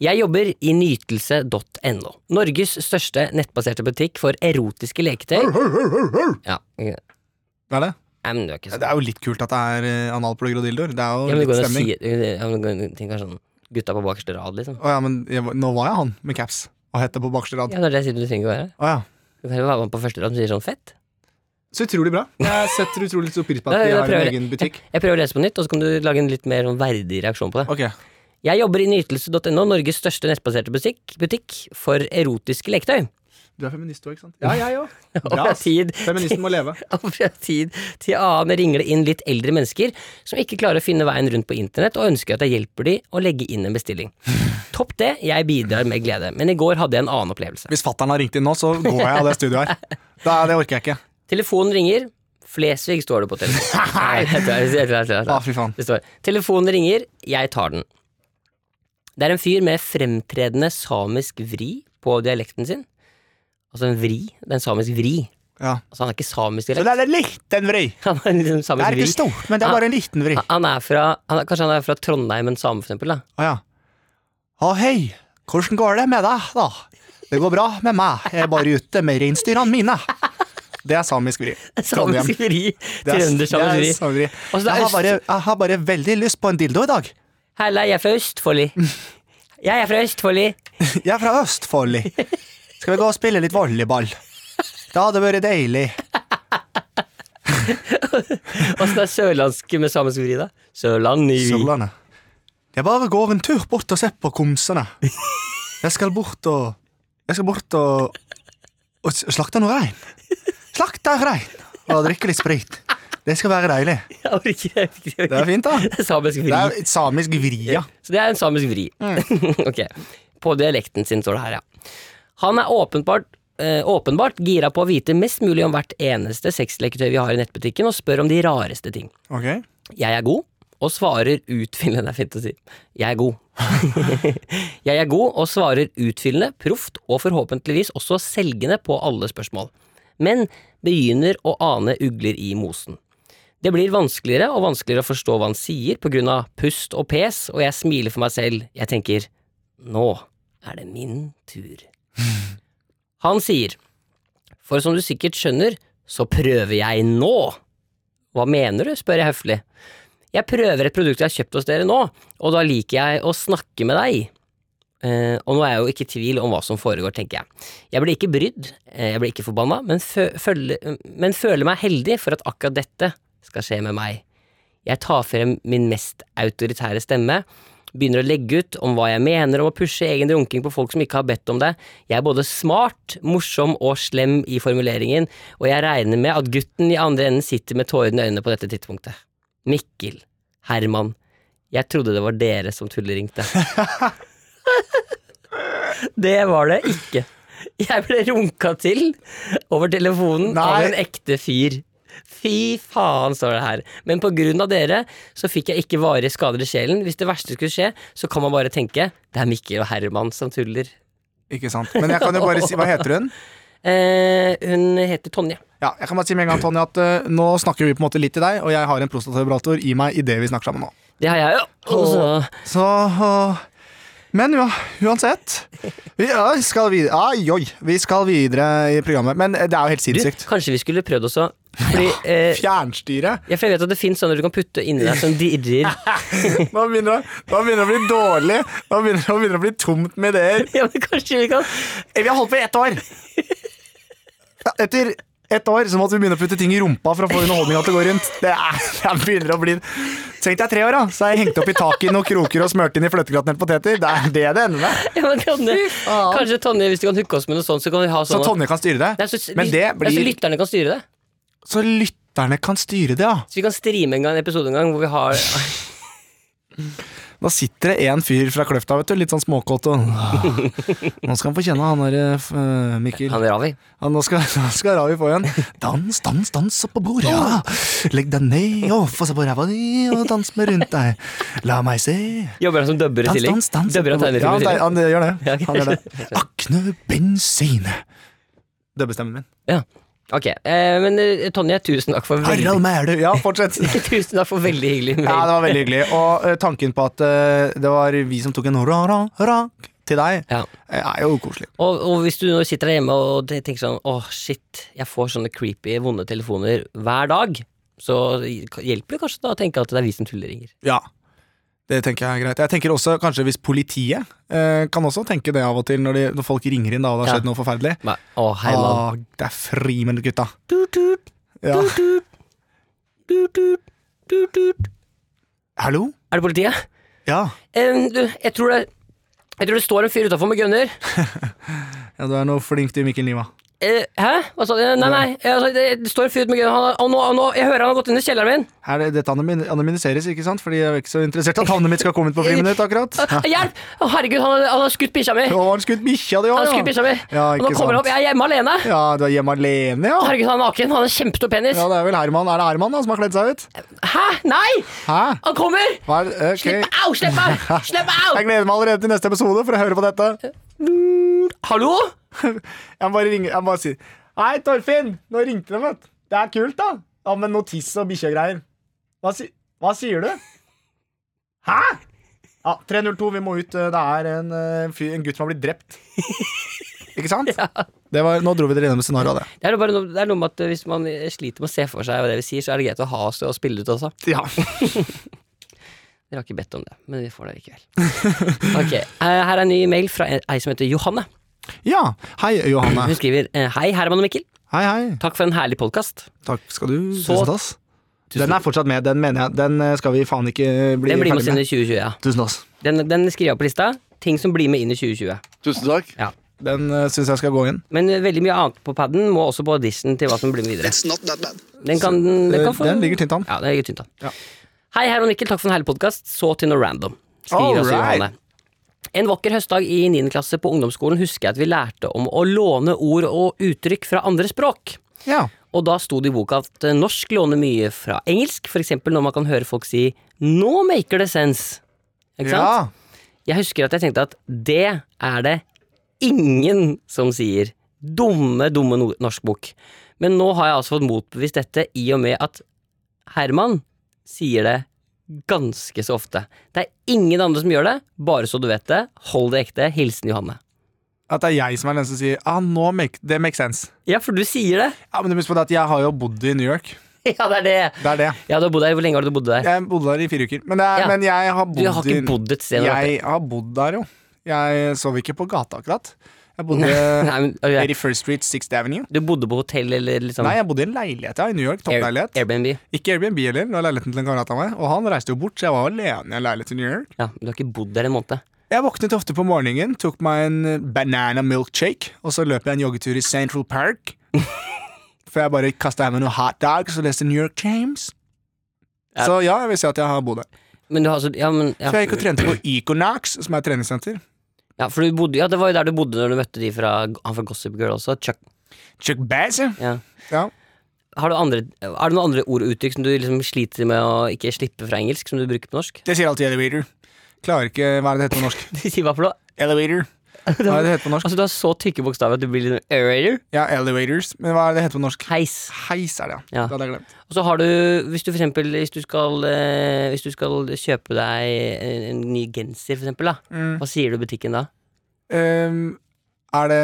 Speaker 3: Jeg jobber i nytelse.no, Norges største nettbaserte butikk for erotiske leketøy. Ja, ok.
Speaker 2: Hva er det?
Speaker 3: Nei, men du er ikke så
Speaker 2: Det er jo litt kult at det er eh, analplugger og dildoer. Det er jo
Speaker 3: Ja, men det
Speaker 2: litt
Speaker 3: går an å
Speaker 2: stemning.
Speaker 3: si ja, men det går an å tenke sånn Gutta på bakerste rad, liksom.
Speaker 2: Å ja, men jeg, var- nå var jeg han med caps og hette på bakerste rad.
Speaker 3: Ja, når det sier du trenger ikke å være her.
Speaker 2: Å ja.
Speaker 3: Du kan heller være med på første rad som sier sånn fett.
Speaker 2: Så utrolig bra. Jeg setter utrolig stor pris på
Speaker 3: Da-
Speaker 2: at vi
Speaker 3: da
Speaker 2: har en
Speaker 3: prøver jeg.
Speaker 2: egen butikk.
Speaker 3: Jeg prøver å lese på nytt, og så kan du lage en litt mer sånn verdig reaksjon på det.
Speaker 2: Ok,
Speaker 3: Jeg jobber i nytelse.no, Norges største nettbaserte butikk, butikk for erotiske leketøy.
Speaker 2: Du er feminist òg, ikke sant? Ja, jeg òg.
Speaker 3: Og fra tid
Speaker 2: Feministen må leve.
Speaker 3: Og fra tid til annen ringer det inn litt eldre mennesker som ikke klarer å finne veien rundt på internett, og ønsker at jeg hjelper de å legge inn en bestilling. Topp det, jeg bidrar med glede. Men i går hadde jeg en annen opplevelse.
Speaker 2: Hvis fattern har ringt inn nå, så går jeg av det studioet her. Da, det orker jeg ikke.
Speaker 3: Telefonen ringer. Flesvig står det på telefonen. Nei, jeg tror- jeg tror- jeg tror- jeg tror- jeg
Speaker 2: Å,
Speaker 3: tror.
Speaker 2: fy faen.
Speaker 3: Det står Telefonen ringer, jeg tar den. Det er en fyr med fremtredende samisk vri på dialekten sin. Altså en vri. Det er en samisk vri.
Speaker 2: Ja.
Speaker 3: Altså Han er ikke samisk
Speaker 2: Så
Speaker 3: dialekt.
Speaker 2: det er en liten vri.
Speaker 3: Han er liksom
Speaker 2: Det
Speaker 3: samisk
Speaker 2: er ikke
Speaker 3: vri.
Speaker 2: stort, men det er bare en liten vri.
Speaker 3: Han- Han er fra, han er, kanskje han er fra Trondheim, en same, for eksempel. Da.
Speaker 2: Å ja. Å hei, hvordan går det med deg, da? Det går bra med meg, jeg er bare ute med reinsdyrene mine. Det er samisk vri. Trondheim.
Speaker 3: Samisk vri.
Speaker 2: Det er-
Speaker 3: Trøndersamisk
Speaker 2: det er
Speaker 3: vri.
Speaker 2: samisk vri.
Speaker 3: Og så det er
Speaker 2: Jeg har,
Speaker 3: øst-
Speaker 2: bare, jeg har bare veldig lyst på en dildo i dag.
Speaker 3: Hella, jeg er fra Østfoldi. Jeg er fra Østfoldi.
Speaker 2: Jeg er fra Østfoldi. Skal vi gå og spille litt volleyball? Det hadde vært deilig.
Speaker 3: Åssen er sørlandsk med samisk vri, da? Sørland i vi.
Speaker 2: Sørlandet. Jeg bare går en tur bort og ser på komsene. Jeg skal bort og Jeg skal bort og, og s- slakte noe rein. Slakte rein og drikke litt sprit. Det skal være deilig.
Speaker 3: Jeg orker ikke, jeg orker ikke.
Speaker 2: Det er fint, da.
Speaker 3: Det er Samisk vri.
Speaker 2: Det Mm. er et samisk vri, ja.
Speaker 3: Så det er en samisk vri. ok. På dialekten sin står det her, ja. Han er åpenbart, eh, åpenbart gira på å vite mest mulig om hvert eneste sexleketøy vi har i nettbutikken, og spør om de rareste ting.
Speaker 2: Ok.
Speaker 3: Jeg er god, og svarer utfyllende. Det er fint å si. Jeg er god. jeg er god og svarer utfyllende, proft og forhåpentligvis også selgende på alle spørsmål. Men begynner å ane ugler i mosen. Det blir vanskeligere og vanskeligere å forstå hva han sier på grunn av pust og pes, og jeg smiler for meg selv. Jeg tenker nå er det min tur. Han sier, for som du sikkert skjønner, Så prøver jeg nå. Hva mener du? spør jeg høflig. Jeg prøver et produkt jeg har kjøpt hos dere nå, og da liker jeg å snakke med deg. Eh, og nå er jeg jo ikke i tvil om hva som foregår, tenker jeg. Jeg blir ikke brydd, eh, jeg blir ikke forbanna, men, fø føle, men føler meg heldig for at akkurat dette skal skje med meg. Jeg tar frem min mest autoritære stemme, begynner å legge ut om hva jeg mener om å pushe egen runking på folk som ikke har bedt om det. Jeg er både smart, morsom og slem i formuleringen, og jeg regner med at gutten i andre enden sitter med tårene i øynene på dette tidspunktet. Mikkel, Herman, jeg trodde det var dere som tulleringte. det var det ikke. Jeg ble runka til over telefonen av
Speaker 2: Nei.
Speaker 3: en ekte fyr. Fy faen, står det her. Men på grunn av dere så fikk jeg ikke varige skader i sjelen. Hvis det verste skulle skje, så kan man bare tenke det er Mikkel og Herman som tuller.
Speaker 2: Ikke sant. Men jeg kan jo bare si Hva heter hun?
Speaker 3: Eh, hun heter Tonje.
Speaker 2: Ja, jeg kan bare si med en gang, Tonje, at eh, nå snakker vi på en måte litt til deg, og jeg har en prostatavibrator i meg idet vi snakker sammen nå.
Speaker 3: Det har jeg jo. Og så-
Speaker 2: Så øh, Men ja, uansett. Vi ja, skal videre Ai, oi, vi skal videre i programmet. Men det er jo helt
Speaker 3: Du,
Speaker 2: sinnssykt.
Speaker 3: kanskje vi skulle prøvd også. Fordi, eh,
Speaker 2: Fjernstyre.
Speaker 3: ja, for jeg vet at det fins sånne du kan putte inni deg som dirrer.
Speaker 2: Nå begynner, det- nå begynner det å bli dårlig. Nå begynner, nå begynner det å bli tomt med ideer.
Speaker 3: Ja, men kanskje vi kan
Speaker 2: Eh, Vi har holdt på i ett år. Ja, Etter ett år så måtte vi begynne å putte ting i rumpa for å få underholdninga til å gå rundt. Det, er, det begynner å bli Tenk deg tre år, da. Så er jeg hengt opp i taket i noen kroker og smurt inn i fløtegratinerte poteter. Det er det det ender med.
Speaker 3: ja, men Tonje, Kanskje Tonje, hvis du kan hooke oss med noe sånt, så kan vi ha
Speaker 2: Så
Speaker 3: sånn at-
Speaker 2: Tonje kan styre
Speaker 3: Nei,
Speaker 2: det.
Speaker 3: så-
Speaker 2: Men det
Speaker 3: Nei, så
Speaker 2: blir
Speaker 3: lytterne kan styre det.
Speaker 2: Så lytterne kan styre det, ja.
Speaker 3: Så vi kan streame en gang, en episode en gang hvor vi har
Speaker 2: Da sitter det en fyr fra Kløfta, vet du, litt sånn småkåt og Nå skal han få kjenne han derre eh, Mikkel.
Speaker 3: Han Ravi.
Speaker 2: Ja, nå skal, nå skal Ravi få igjen. Dans, dans, dans oppå bordet, ja. Legg deg ned og få se på ræva di og dans med rundt deg. La meg se.
Speaker 3: Jobber han som dubber i
Speaker 2: Dans,
Speaker 3: tillegg?
Speaker 2: dans, dans.
Speaker 3: Dubber han
Speaker 2: oppå bordet. Ja,
Speaker 3: tegnefilm i
Speaker 2: han,
Speaker 3: tillegg?
Speaker 2: teg- han gjør
Speaker 3: Ja,
Speaker 2: det.
Speaker 3: ok.
Speaker 2: Han gjør det. Akne bensine. Dubbestemmen min.
Speaker 3: Ok, eh, men eh, Tonje, tusen takk for veldig
Speaker 2: Harald Mæhle. Ja, fortsett.
Speaker 3: Tusen takk for veldig hyggelig mail.
Speaker 2: Ja, det var veldig hyggelig. Og eh, tanken på at eh, det var vi som tok en ra-ra-rak til deg,
Speaker 3: Ja.
Speaker 2: eh, er jo koselig.
Speaker 3: og, og hvis du nå sitter der hjemme og te- tenker sånn åh shit, jeg får sånne creepy, vonde telefoner hver dag, så hjelper det kanskje da å tenke at det er vi som tulleringer.
Speaker 2: Ja. Det tenker jeg er greit. Jeg tenker også kanskje hvis politiet eh, kan også tenke det av og til, når, de, når folk ringer inn da og det har
Speaker 3: Ja.
Speaker 2: skjedd noe forferdelig.
Speaker 3: Nei, Å, hei, mann.
Speaker 2: Åh, det er friminutt, gutta.
Speaker 3: Tut-tut,
Speaker 2: Ah. Ja.
Speaker 3: tut-tut, tut-tut, tut-tut.
Speaker 2: Hallo?
Speaker 3: Er det politiet?
Speaker 2: Ja.
Speaker 3: Eh, du, jeg tror det Jeg tror det står en fyr utafor med gunner.
Speaker 2: ja, du er noe flink du, Mikkel Niva.
Speaker 3: Eh, hæ? Hva sa du? Nei, nei. Altså, det, det står en fyr ute med gunner. Han, har- og nå, og nå, jeg hører han har gått inn i kjelleren min.
Speaker 2: Her, dette anonym- anonymiseres, ikke sant? Fordi jeg er ikke så interessert i at navnet mitt skal komme ut på friminutt, akkurat.
Speaker 3: Ah, Hjelp! Å, herregud, han, han har skutt bikkja mi!
Speaker 2: Å, har han skutt bikkja di
Speaker 3: Han har
Speaker 2: òg,
Speaker 3: skutt bikkja mi!
Speaker 2: Ja,
Speaker 3: og nå
Speaker 2: ikke sant.
Speaker 3: kommer han opp. Jeg er hjemme alene!
Speaker 2: Ja, du er hjemme alene,
Speaker 3: Å,
Speaker 2: ja.
Speaker 3: Herregud, han er naken. Han har kjempestor penis.
Speaker 2: Ja, det er vel Herman. Er det Herman da, som har kledd seg ut?
Speaker 3: Hæ? Nei!
Speaker 2: Hæ?
Speaker 3: Han kommer!
Speaker 2: Hva er det?
Speaker 3: Slipp
Speaker 2: Ok.
Speaker 3: meg! Au! Slipp meg! Slipp meg!
Speaker 2: Jeg gleder meg allerede til neste episode for å høre på dette.
Speaker 3: Au! Hallo?
Speaker 2: Jeg må bare ringe, jeg må bare si Hei, Torfinn! Nå ringte de, vet du. Det er kult, da. Ja, men noe tiss og bikkjegreier. Hva, si, hva sier du? Hæ?! Ja, 302, vi må ut. Det er en, eh, fyr, en gutt som har blitt drept. Ikke sant? Det var, nå dro vi dere gjennom scenarioet, det.
Speaker 3: Det er, jo bare noe, det er noe med at eh, hvis man sliter med å se for seg hva det vi sier, så er det greit å ha oss og spille ut også.
Speaker 2: Ja.
Speaker 3: Dere har ikke bedt om det, men vi får det likevel. Ok, eh, Her er en ny mail fra en- ei som heter Johanne.
Speaker 2: ja. Hei, Johanne.
Speaker 3: Hun skriver eh, Hei, Herman og Mikkel.
Speaker 2: Hei, hei.
Speaker 3: Takk for en herlig podkast.
Speaker 2: Takk skal du.
Speaker 3: Så-
Speaker 2: Tusen tass. Den er fortsatt med. Den mener jeg. Den eh, skal vi faen ikke bli
Speaker 3: Den blir med oss
Speaker 2: ferdig
Speaker 3: inn
Speaker 2: med.
Speaker 3: i 2020. ja
Speaker 2: Tusen tass.
Speaker 3: Den, den skriver jeg på lista. Ting som blir med inn i 2020.
Speaker 1: Tusen takk.
Speaker 2: Den uh, syns jeg skal gå inn.
Speaker 3: Men eh, veldig mye annet på paden må også på audition til hva som blir med videre.
Speaker 1: It's not that bad.
Speaker 3: Den, kan, den,
Speaker 2: Eh,
Speaker 3: kan få,
Speaker 2: den ligger tynt an.
Speaker 3: Ja, den ligger tynt an.
Speaker 2: Ja.
Speaker 3: Hei, Herman Mikkel, takk for en herlig podkast. Så til noe random. Skriver også
Speaker 2: Alright.
Speaker 3: Johanne. En vakker høstdag i 9. klasse på ungdomsskolen husker jeg at vi lærte om å låne ord og uttrykk fra andre språk.
Speaker 2: Ja.
Speaker 3: Og da sto det i boka at eh, norsk låner mye fra engelsk, f.eks. når man kan høre folk si 'nå maker det sense'. Ikke sant?
Speaker 2: Ja.
Speaker 3: Jeg husker at jeg tenkte at det er det ingen som sier. Dumme, dumme no- norskbok. Men nå har jeg altså fått motbevist dette i og med at Herman sier det ganske så ofte. Det er ingen andre som gjør det, bare så du vet det. Hold det ekte. Hilsen Johanne.
Speaker 2: At det er jeg som er den som sier ah, nå make, det makes sense.
Speaker 3: Ja, for du sier det.
Speaker 2: Ja, men du må huske på det at jeg har jo bodd i New York.
Speaker 3: Ja, det er det.
Speaker 2: Det er det.
Speaker 3: Ja, du har bodd der. Hvor lenge har du bodd der?
Speaker 2: Jeg bodde der i fire uker. Men, det er,
Speaker 3: Ja.
Speaker 2: men jeg har
Speaker 3: Du
Speaker 2: bodd
Speaker 3: har ikke bodd et sted?
Speaker 2: i
Speaker 3: når du har vært
Speaker 2: Jeg har bodd der, jo. Jeg sov ikke på gata, akkurat. Jeg bodde
Speaker 3: der. Nei, men, ok.
Speaker 2: 81st Street, 6th Avenue.
Speaker 3: Du bodde på hotell eller liksom
Speaker 2: Nei, jeg bodde i en leilighet ja, i New York.
Speaker 3: Air-
Speaker 2: Toppleilighet.
Speaker 3: Airbnb?
Speaker 2: Ikke Airbnb heller. Det var leiligheten til en kamerat av meg. Og han reiste jo bort, så jeg var alene i en leilighet i New York.
Speaker 3: Ja, du har ikke bodd der en måned?
Speaker 2: Jeg våknet ofte på morgenen, tok meg en eh, banana milkshake, og så løp jeg en joggetur i Central Park. For jeg bare kasta meg noen hot dogs og leste New York Times.
Speaker 3: Ja.
Speaker 2: Så ja, jeg vil si at jeg har bodd der.
Speaker 3: Men du har altså Ja, men ja.
Speaker 2: Så jeg gikk og trente på Econax, som er et treningssenter.
Speaker 3: ja, for du bodde, ja, det var jo der du bodde når du møtte de fra Han fra Gossip Girl også. Chuck.
Speaker 2: Chuck Bass, ja.
Speaker 3: Ja.
Speaker 2: ja.
Speaker 3: Har du andre, er det noen andre ord og uttrykk som du liksom sliter med å ikke slippe fra engelsk, som du bruker på norsk?
Speaker 2: Det sier alltid elevator. Klarer ikke Hva er det det heter på norsk?
Speaker 3: De sier hva for noe?
Speaker 2: Elevator. Hva er det det heter på norsk?
Speaker 3: Altså, du har så tykke bokstaver at du blir litt sånn aerator.
Speaker 2: Ja, elevators. Men hva er det det heter på norsk?
Speaker 3: Heis.
Speaker 2: Heis er det, ja.
Speaker 3: Ja.
Speaker 2: Det hadde jeg glemt.
Speaker 3: Og så har du, hvis du for eksempel hvis du skal, eh, hvis du skal kjøpe deg en, en ny genser, for eksempel, da.
Speaker 2: Mm.
Speaker 3: Hva sier du i butikken da?
Speaker 2: Ehm, er det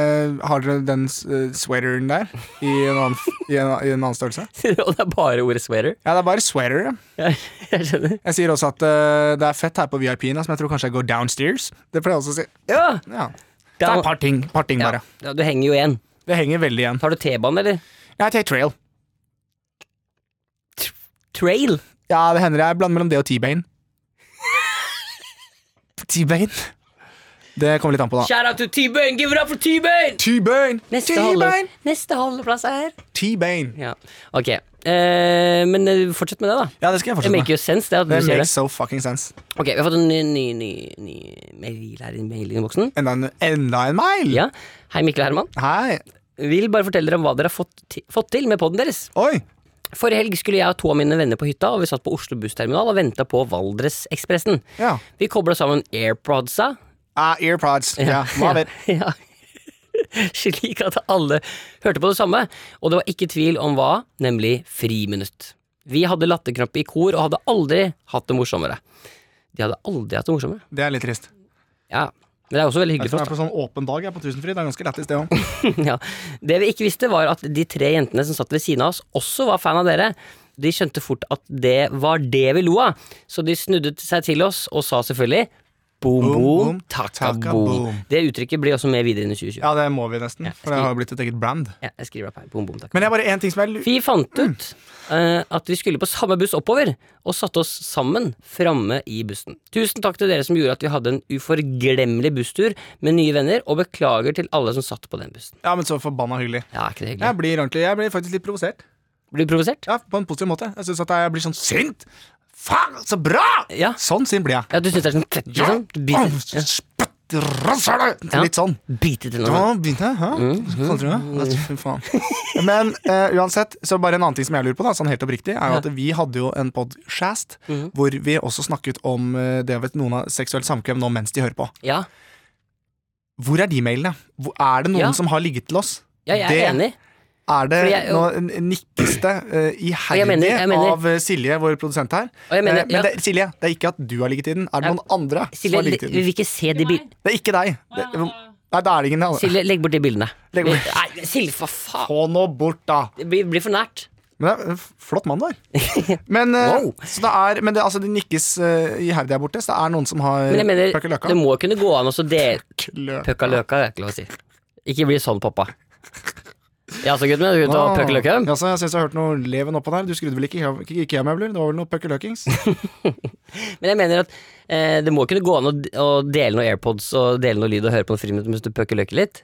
Speaker 2: Har dere den eh, sweateren der i en annen, f- i en, i en annen størrelse?
Speaker 3: Og det er bare ordet sweater.
Speaker 2: Ja, det er bare sweater. ja.
Speaker 3: Jeg, jeg skjønner.
Speaker 2: Jeg sier også at eh, det er fett her på VIP-en, som altså, jeg tror kanskje jeg går downstairs. Det pleier jeg også å si.
Speaker 3: Ja!
Speaker 2: Ja. Det
Speaker 3: Da,
Speaker 2: er par ting, par ting
Speaker 3: ja,
Speaker 2: bare.
Speaker 3: ja, du henger jo igjen.
Speaker 2: Det henger veldig igjen.
Speaker 3: Tar du T-banen, eller?
Speaker 2: Jeg tar trail.
Speaker 3: Trail?
Speaker 2: Ja, det hender jeg blander mellom det og T-Bane. T-Bane? Det kommer litt an på, da.
Speaker 3: Shout out to T-Bane! Give it up for T-Bane!
Speaker 2: T-Bane!
Speaker 3: Neste,
Speaker 2: T-Bane!
Speaker 3: holde, neste holdeplass er
Speaker 2: T-Bane.
Speaker 3: Ja, ok. Eh, men eh, fortsett med det, da.
Speaker 2: Ja, det skal jeg
Speaker 3: Det
Speaker 2: fortsette
Speaker 3: make
Speaker 2: med.
Speaker 3: jo sense, det. at du
Speaker 2: Det
Speaker 3: sier det
Speaker 2: makes so fucking sense.
Speaker 3: Ok, Vi har fått en ny, ny, ny, ny mail her i mailinnboksen.
Speaker 2: Enda en, enda en mile!
Speaker 3: Ja. Hei, Mikkel og Herman.
Speaker 2: Hei.
Speaker 3: Vil bare fortelle dere om hva dere har fått, ti fått til med poden deres.
Speaker 2: Oi!
Speaker 3: Forrige helg skulle jeg og to av mine venner på hytta, og vi satt på Oslo bussterminal og venta på Valdresekspressen.
Speaker 2: Ja.
Speaker 3: Vi kobla sammen airprodsa,
Speaker 2: Ah, earpods. Ja, love it.
Speaker 3: ja. slik at alle hørte på det samme, og det var ikke tvil om hva, nemlig friminutt. Vi hadde latterkrampe i kor og hadde aldri hatt det morsommere. De hadde aldri hatt det morsommere.
Speaker 2: Det er litt trist.
Speaker 3: Ja, men det er også veldig
Speaker 2: Jeg
Speaker 3: hyggelig for
Speaker 2: er
Speaker 3: oss.
Speaker 2: på sånn åpen dag jeg er på Tusenfryd. Det er ganske lættis, det òg.
Speaker 3: da. Ja. Det vi ikke visste, var at de tre jentene som satt ved siden av oss, også var fan av dere. De skjønte fort at det var det vi lo av, så de snudde seg til oss og sa selvfølgelig boom,
Speaker 2: Boom,
Speaker 3: boom,
Speaker 2: boom,
Speaker 3: takka,
Speaker 2: takka,
Speaker 3: boom.
Speaker 2: boom.
Speaker 3: Det uttrykket blir også med videre inn i 2020.
Speaker 2: Ja, det må vi nesten, for det har jo blitt et eget brand.
Speaker 3: Ja, jeg skriver opp her. Boom, boom, takka.
Speaker 2: Men det er bare én ting som jeg lurer
Speaker 3: Vi fant ut eh, at vi skulle på samme buss oppover, og satte oss sammen framme i bussen. Tusen takk til dere som gjorde at vi hadde en uforglemmelig busstur med nye venner, og beklager til alle som satt på den bussen.
Speaker 2: Ja, men så forbanna hyggelig.
Speaker 3: Ja, er ikke det hyggelig?
Speaker 2: Jeg blir ordentlig, jeg blir faktisk litt provosert.
Speaker 3: Blir du provosert?
Speaker 2: Ja, På en positiv måte. Jeg syns at jeg blir sånn sint! Faen, så bra!
Speaker 3: Ja.
Speaker 2: Sånn sint blir jeg.
Speaker 3: Ja, du syns det er sånn tett,
Speaker 2: Ja!
Speaker 3: liksom? Bite, ja.
Speaker 2: Spytt rasshølet!
Speaker 3: Ja.
Speaker 2: Litt sånn.
Speaker 3: Bite til
Speaker 2: Da
Speaker 3: noe.
Speaker 2: begynte jeg, hæ?
Speaker 3: Mm,
Speaker 2: Sånn tror jeg. Vet du, Fy faen. Men eh, uansett, så bare en annen ting som jeg lurer på, da, sånn helt oppriktig, er jo at vi hadde jo en podcast
Speaker 3: Mm.
Speaker 2: hvor vi også snakket om eh, det ved noen har seksuelt samkvem nå mens de hører på.
Speaker 3: Ja,
Speaker 2: Hvor er de mailene? Hvor, er det noen
Speaker 3: Ja.
Speaker 2: som har ligget til oss?
Speaker 3: ja jeg er
Speaker 2: Det-
Speaker 3: enig.
Speaker 2: Er det
Speaker 3: For jeg-
Speaker 2: nå nikkes det uh,
Speaker 3: jeg
Speaker 2: iherdig
Speaker 3: mener- jeg mener-
Speaker 2: av eh, Silje, vår produsent her?
Speaker 3: Og jeg
Speaker 2: Eh,
Speaker 3: mener,
Speaker 2: men
Speaker 3: ja,
Speaker 2: det, Silje, det er ikke at du har ligget i den. Er det
Speaker 3: Ja.
Speaker 2: noen andre som
Speaker 3: Silje,
Speaker 2: har ligget i
Speaker 3: vi
Speaker 2: den?
Speaker 3: vil ikke se de bildene.
Speaker 2: Det er ikke deg. Det, nei, da er det ingen andre.
Speaker 3: Silje, legg bort de bildene.
Speaker 2: Legg bort-
Speaker 3: Nei, Silje, for faen.
Speaker 2: Få nå bort, da!
Speaker 3: Det blir, blir for nært.
Speaker 2: Men det er en flott mann der. Men, eh,
Speaker 3: Wow.
Speaker 2: så det er, men det, altså, det nikkes eh, iherdig her borte, så det er noen som har
Speaker 3: Men jeg
Speaker 2: plukket
Speaker 3: mener,
Speaker 2: løka.
Speaker 3: det må kunne gå an å så dele
Speaker 2: Lø-
Speaker 3: Pøkka løka, det er ikke lov å si. Ikke bli sånn, pappa. Ja, så gutten min, skal du ta pøkka løka?
Speaker 2: Ja, så jeg syns jeg har hørt noe leven oppå der. Du skrudde vel ikke Ikea- ikke IKEA-møbler? Det var vel noe pucker løkings?
Speaker 3: Men jeg mener at eh, det må kunne gå an å, å dele noen AirPods og dele noe lyd og høre på en friminutt mens du pøkker løker litt.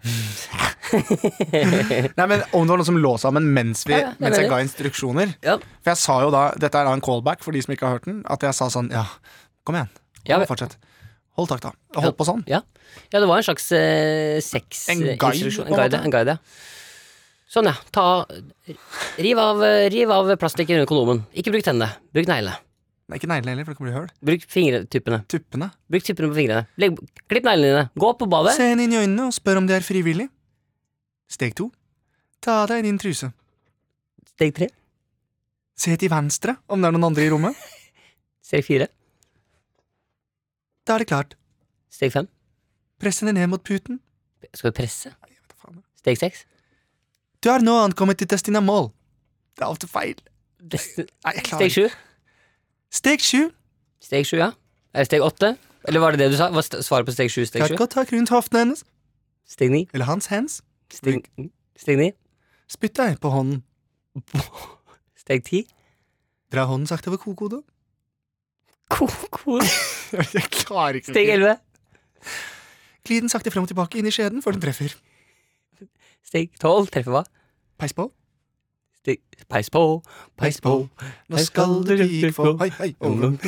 Speaker 2: Nei, men Om det var noen som lå sammen mens, vi,
Speaker 3: Ja, ja, jeg
Speaker 2: mens jeg
Speaker 3: mener
Speaker 2: ga instruksjoner
Speaker 3: Ja,
Speaker 2: For jeg sa jo da, dette er da en callback for de som ikke har hørt den, at jeg sa sånn Ja, kom igjen.
Speaker 3: Ja,
Speaker 2: Kom,
Speaker 3: men-
Speaker 2: fortsett. Hold takta. Hold på sånn.
Speaker 3: ja. ja det var en slags eh, sex...
Speaker 2: En
Speaker 3: eh,
Speaker 2: guide,
Speaker 3: instruksjon.
Speaker 2: på
Speaker 3: en
Speaker 2: en
Speaker 3: guide,
Speaker 2: måte.
Speaker 3: en guide, ja. Sånn, ja. Ta Riv av, riv av plastikken rundt kondomen. Ikke bruk tennene. Bruk neglene.
Speaker 2: Det er ikke neglene heller, for det kan bli høl.
Speaker 3: Bruk fingertuppene.
Speaker 2: Tuppene.
Speaker 3: Bruk tuppene på fingrene. Legg, klipp neglene dine. Gå opp på badet.
Speaker 2: Se henne inn i øynene og spør om de er frivillig. Steg to. Ta av deg din truse.
Speaker 3: Steg tre.
Speaker 2: Se til venstre om det er noen andre i rommet.
Speaker 3: Steg fire.
Speaker 2: Da er det klart.
Speaker 3: Steg fem.
Speaker 2: Press henne ned mot puten.
Speaker 3: Skal du presse?
Speaker 2: faen, jeg.
Speaker 3: Steg seks?
Speaker 2: Du har nå ankommet til Destina Mall. Det er ofte feil.
Speaker 3: Beste-
Speaker 2: Nei, jeg klarer
Speaker 3: Steg sju?
Speaker 2: Steg sju.
Speaker 3: Steg sju, ja. Er det steg åtte? Eller var det det du sa? Var st- svaret på steg sju steg sju?
Speaker 2: Kakka tak rundt hoftene hennes.
Speaker 3: Steg ni?
Speaker 2: Eller hans hands.
Speaker 3: Steg,
Speaker 2: Mm.
Speaker 3: mm. steg ni?
Speaker 2: Spytt deg på hånden.
Speaker 3: Steg ti?
Speaker 2: Dra hånden sakte over kokodet.
Speaker 3: Ko-ko
Speaker 2: Jeg klarer ikke
Speaker 3: Steg elleve?
Speaker 2: Gli den sakte fram og tilbake inn i skjeden før den treffer.
Speaker 3: Steg tolv? Treffer hva?
Speaker 2: Peis på.
Speaker 3: Steg Peis på, peis på.
Speaker 2: Nå skal du ryke på Hei, hei. og-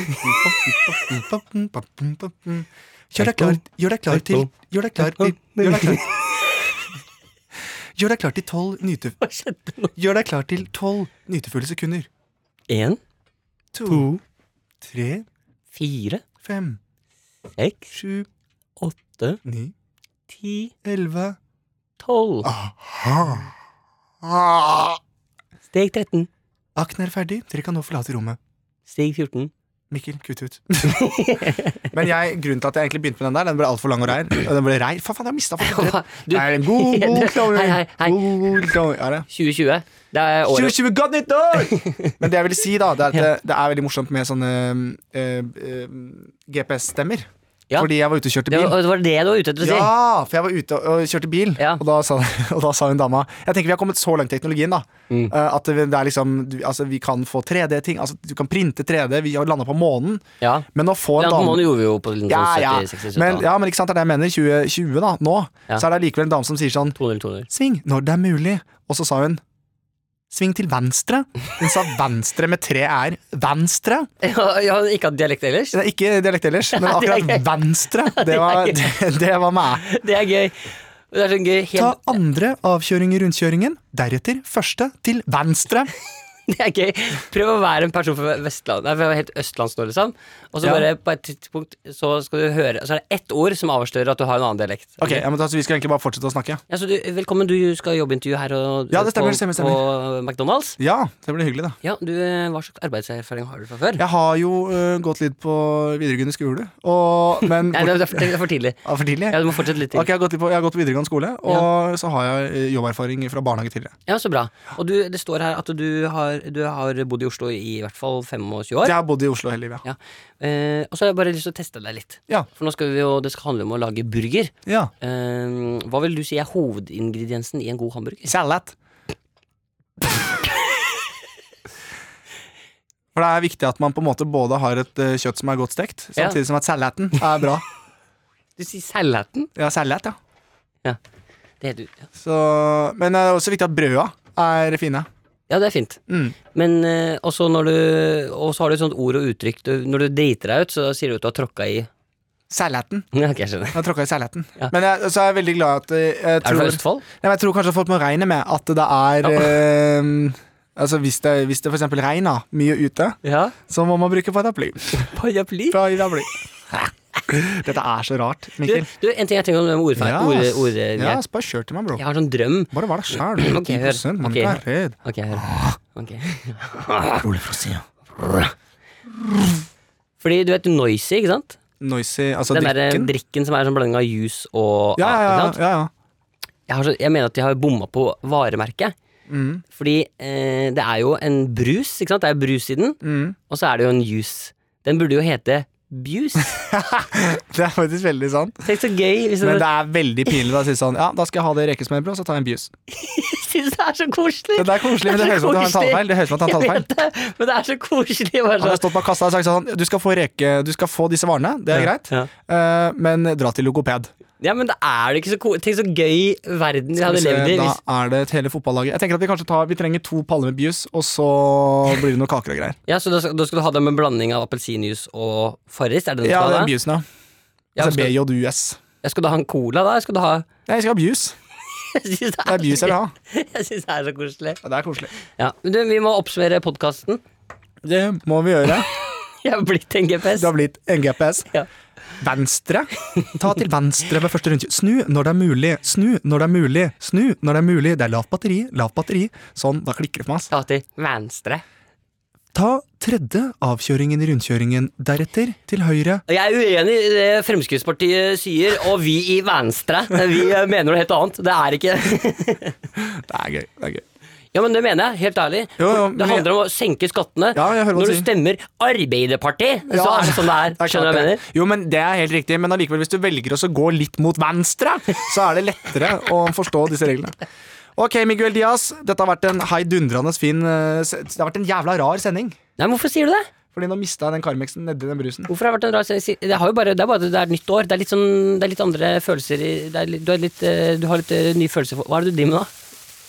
Speaker 2: Gjør deg klar, gjør deg klar til Gjør deg klar til Gjør deg klar Gjør deg klar til tolv nyte...
Speaker 3: Hva skjedde nå?
Speaker 2: Gjør deg klar til tolv nytefulle sekunder.
Speaker 3: En,
Speaker 2: To, tre,
Speaker 3: fire,
Speaker 2: fem,
Speaker 3: seks,
Speaker 2: sju,
Speaker 3: åtte,
Speaker 2: ni,
Speaker 3: ti,
Speaker 2: elleve
Speaker 3: tolv.
Speaker 2: Ah.
Speaker 3: Steg 13.
Speaker 2: Akten er ferdig, dere kan nå forlate rommet.
Speaker 3: Steg 14.
Speaker 2: Mikkel, kutt ut. Men jeg, grunnen til at jeg egentlig begynte med den der, den ble altfor lang og reir. Og den ble reir. Faen, faen, jeg mista faktisk rett.
Speaker 3: Du,
Speaker 2: Nei, god, god klovn.
Speaker 3: Hei, hei, hei.
Speaker 2: God, god klovn. Er det?
Speaker 3: 2020. Det er året.
Speaker 2: 2020, godt nytt år! Men det jeg ville si, da, det er at det, det er veldig morsomt med sånne eh, eh, GPS-stemmer.
Speaker 3: Ja.
Speaker 2: Fordi jeg var ute og kjørte
Speaker 3: Det
Speaker 2: bil.
Speaker 3: var, det var det du var ute etter å si.
Speaker 2: Ja, for jeg var ute og og kjørte bil,
Speaker 3: Ja.
Speaker 2: og, da sa, og da sa hun dama Jeg tenker vi har kommet så langt i teknologien, da. eh, At det det er liksom du, altså, Vi kan få 3D-ting. Altså, du kan printe 3D. Vi har landa på månen.
Speaker 3: Ja.
Speaker 2: Men å få en
Speaker 3: Land på
Speaker 2: dame
Speaker 3: månen gjorde vi jo på
Speaker 2: ja, ja.
Speaker 3: 70-60-70.
Speaker 2: Men, ja, men ikke sant, det er det jeg mener. 2020, da. Nå.
Speaker 3: Ja.
Speaker 2: Så er det likevel en dame som sier sånn
Speaker 3: 200-200.
Speaker 2: Sving når det er mulig. Og så sa hun Sving til venstre. Hun sa venstre med tre r. Venstre.
Speaker 3: Ja, ja, ikke hatt dialekt ellers?
Speaker 2: Det er ikke dialekt ellers, men
Speaker 3: Nei, det er
Speaker 2: akkurat venstre, det var, det, det var meg.
Speaker 3: Det er gøy. Det er sånn gøy
Speaker 2: Ta
Speaker 3: helt,
Speaker 2: andre avkjøring i rundkjøringen, deretter første til venstre.
Speaker 3: Det er gøy. Prøv å være en person fra Vestland Nei, fra helt Østlands nå, liksom. Og så
Speaker 2: Ja.
Speaker 3: bare på et tidspunkt så skal du høre Så er det ett ord som avslører at du har en annen dialekt.
Speaker 2: Ok, ja, men altså, Vi skal egentlig bare fortsette å snakke.
Speaker 3: Ja, så du, velkommen, du skal jobbintervju her og,
Speaker 2: Ja, det stemmer,
Speaker 3: på,
Speaker 2: stemmer, stemmer.
Speaker 3: på McDonald's.
Speaker 2: Ja, det blir hyggelig, da.
Speaker 3: Ja, du, eh, Hva slags arbeidserfaring har du fra før?
Speaker 2: Jeg har jo øh, gått litt på videregående skole, og, men
Speaker 3: Nei, det er for, det er for tidlig.
Speaker 2: Ah, for tidlig?
Speaker 3: Ja, Du må fortsette litt til.
Speaker 2: Ok, jeg har gått litt på, jeg har gått på videregående skole, og så har jeg eh, jobberfaring fra barnehage tidligere.
Speaker 3: Ja, Så bra. Og du, det står her at du har, du har bodd i Oslo i i hvert fall 25
Speaker 2: Jeg
Speaker 3: år.
Speaker 2: har bodd i Oslo hele livet.
Speaker 3: Ja. Eh, og så har jeg bare lyst til å teste deg litt.
Speaker 2: Ja.
Speaker 3: For nå skal vi jo, det skal handle om å lage burger.
Speaker 2: ja.
Speaker 3: Eh, hva vil du si er hovedingrediensen i en god hamburger?
Speaker 2: Salat. For det er viktig at man på en måte både har et eh, kjøtt som er godt stekt,
Speaker 3: Ja.
Speaker 2: samtidig som at salaten er bra.
Speaker 3: Du sier salaten.
Speaker 2: Ja, salat, ja.
Speaker 3: Det heter, ja.
Speaker 2: Så, men det er også viktig at brøda er fine.
Speaker 3: ja, det er fint.
Speaker 2: Mm.
Speaker 3: Men eh, også når du Og så har du et sånt ord og uttrykk. Du, når du driter deg ut, så sier du at du har tråkka i
Speaker 2: Salaten.
Speaker 3: Ja, ok, jeg skjønner.
Speaker 2: Jeg har tråkka i salaten.
Speaker 3: Ja.
Speaker 2: Men jeg, så er jeg veldig glad at eh, jeg
Speaker 3: Er du
Speaker 2: tror,
Speaker 3: fra
Speaker 2: nei,
Speaker 3: Østfold?
Speaker 2: men jeg tror kanskje folk må regne med at det er eh, Altså hvis det, hvis det for eksempel regner mye ute,
Speaker 3: Ja.
Speaker 2: så må man bruke paraply.
Speaker 3: Paraply?
Speaker 2: Paraply. Dette er så rart,
Speaker 3: Du,
Speaker 2: Mikkel.
Speaker 3: du, en ting jeg tenker om det med ordfeil. Ord, ord,
Speaker 2: ja, så bare kjør til meg, bro.
Speaker 3: Jeg har sånn drøm.
Speaker 2: Bare vær deg sjæl.
Speaker 3: Ok, hør.
Speaker 2: 10 man
Speaker 3: Ok. Ah.
Speaker 2: ikke er redd.
Speaker 3: Ok, hør. Ok.
Speaker 2: Rolig fra sida.
Speaker 3: Fordi du vet Noisy, ikke sant?
Speaker 2: Noisy, altså
Speaker 3: Den derre
Speaker 2: drikken.
Speaker 3: drikken som er sånn blanding av juice og
Speaker 2: Ja, ja,
Speaker 3: ikke
Speaker 2: ja.
Speaker 3: sant?
Speaker 2: ja, ja.
Speaker 3: Jeg, har så, jeg mener at de har bomma på varemerket.
Speaker 2: Mm.
Speaker 3: Fordi eh, det er jo en brus, ikke sant? Det er brus i den,
Speaker 2: Mm.
Speaker 3: og så er det jo en juice. Den burde jo hete Buse.
Speaker 2: Det er faktisk veldig sant.
Speaker 3: Tenk så gøy hvis
Speaker 2: Men
Speaker 3: det,
Speaker 2: det er veldig pinlig å si sånn Ja, da skal jeg ha det rekesmørbrødet, og så tar jeg en Buse.
Speaker 3: synes det er så koselig!
Speaker 2: Det er koselig, men det
Speaker 3: Det er
Speaker 2: høres ut som du har en
Speaker 3: så koselig.
Speaker 2: talefeil. Det høres ut som du har en
Speaker 3: Jeg
Speaker 2: talefeil.
Speaker 3: vet det, men det er så koselig. Bare
Speaker 2: Han har
Speaker 3: sånn.
Speaker 2: stått bak kassa og sagt sånn Du skal få reke, du skal få disse varene, det er greit,
Speaker 3: Ja.
Speaker 2: eh, men dra til logoped.
Speaker 3: ja, men det er det ikke så ko- Tenk så gøy verden vi
Speaker 2: Skal vi
Speaker 3: hadde
Speaker 2: se,
Speaker 3: levd i
Speaker 2: eh, da
Speaker 3: hvis
Speaker 2: er det et hele fotballaget. Jeg tenker at vi kanskje tar Vi trenger to paller med Buse, og så blir det noen kaker og greier.
Speaker 3: Ja, så da, skal- da skal du ha dem med en blanding av appelsinjuice og Farris? Er det den du
Speaker 2: Ja,
Speaker 3: skal
Speaker 2: det
Speaker 3: ha?
Speaker 2: er
Speaker 3: da?
Speaker 2: Busen, ja.
Speaker 3: Ja,
Speaker 2: Altså
Speaker 3: skal,
Speaker 2: BJUS.
Speaker 3: ja, skal du ha en cola, da? Skal du ha
Speaker 2: Nei, jeg skal ha Buse.
Speaker 3: Jeg syns det,
Speaker 2: Det er Buse jeg vil ha.
Speaker 3: jeg synes det er så koselig.
Speaker 2: Ja, det er koselig.
Speaker 3: Ja, men du, vi må oppsummere podkasten.
Speaker 2: Det må vi gjøre.
Speaker 3: Jeg har blitt en GPS.
Speaker 2: Det har blitt en GPS.
Speaker 3: Ja.
Speaker 2: Venstre. Ta til venstre ved første rundkjøring. Snu når det er mulig. Snu når det er mulig. Snu når det er mulig. Det er lavt batteri. Lavt batteri. Sånn, da klikker det for meg. ass.
Speaker 3: Ta til venstre.
Speaker 2: Ta tredje avkjøringen i rundkjøringen, deretter til høyre.
Speaker 3: Jeg er uenig i det Fremskrittspartiet sier, og vi i Venstre Vi eh, mener noe helt annet. Det er ikke
Speaker 2: Det er gøy. det er gøy.
Speaker 3: Ja, men det mener jeg. Helt ærlig.
Speaker 2: Jo, jo, men
Speaker 3: det
Speaker 2: vi-
Speaker 3: handler om å senke skattene.
Speaker 2: Ja, jeg hører hva du
Speaker 3: Når du
Speaker 2: sier.
Speaker 3: stemmer Arbeiderpartiet, så
Speaker 2: Ja,
Speaker 3: er det sånn det er.
Speaker 2: det er
Speaker 3: Skjønner du hva jeg
Speaker 2: klart
Speaker 3: mener?
Speaker 2: det. Jo, men Det er helt riktig, men allikevel, hvis du velger også å gå litt mot venstre, så er det lettere å forstå disse reglene. Ok, Miguel Diaz, dette har vært en heidundrende fin eh, se- Det har vært en jævla rar sending.
Speaker 3: Nei, men Hvorfor sier du det?
Speaker 2: Fordi nå mista jeg den Carmexen nedi den brusen.
Speaker 3: Hvorfor har det vært en rar sending? Det, har jo bare, det er bare det er et nytt år. Det er litt, sånn, det er litt andre følelser i det er, litt- du, er litt, eh, du har litt eh, nye følelser for Hva er det du driver med nå?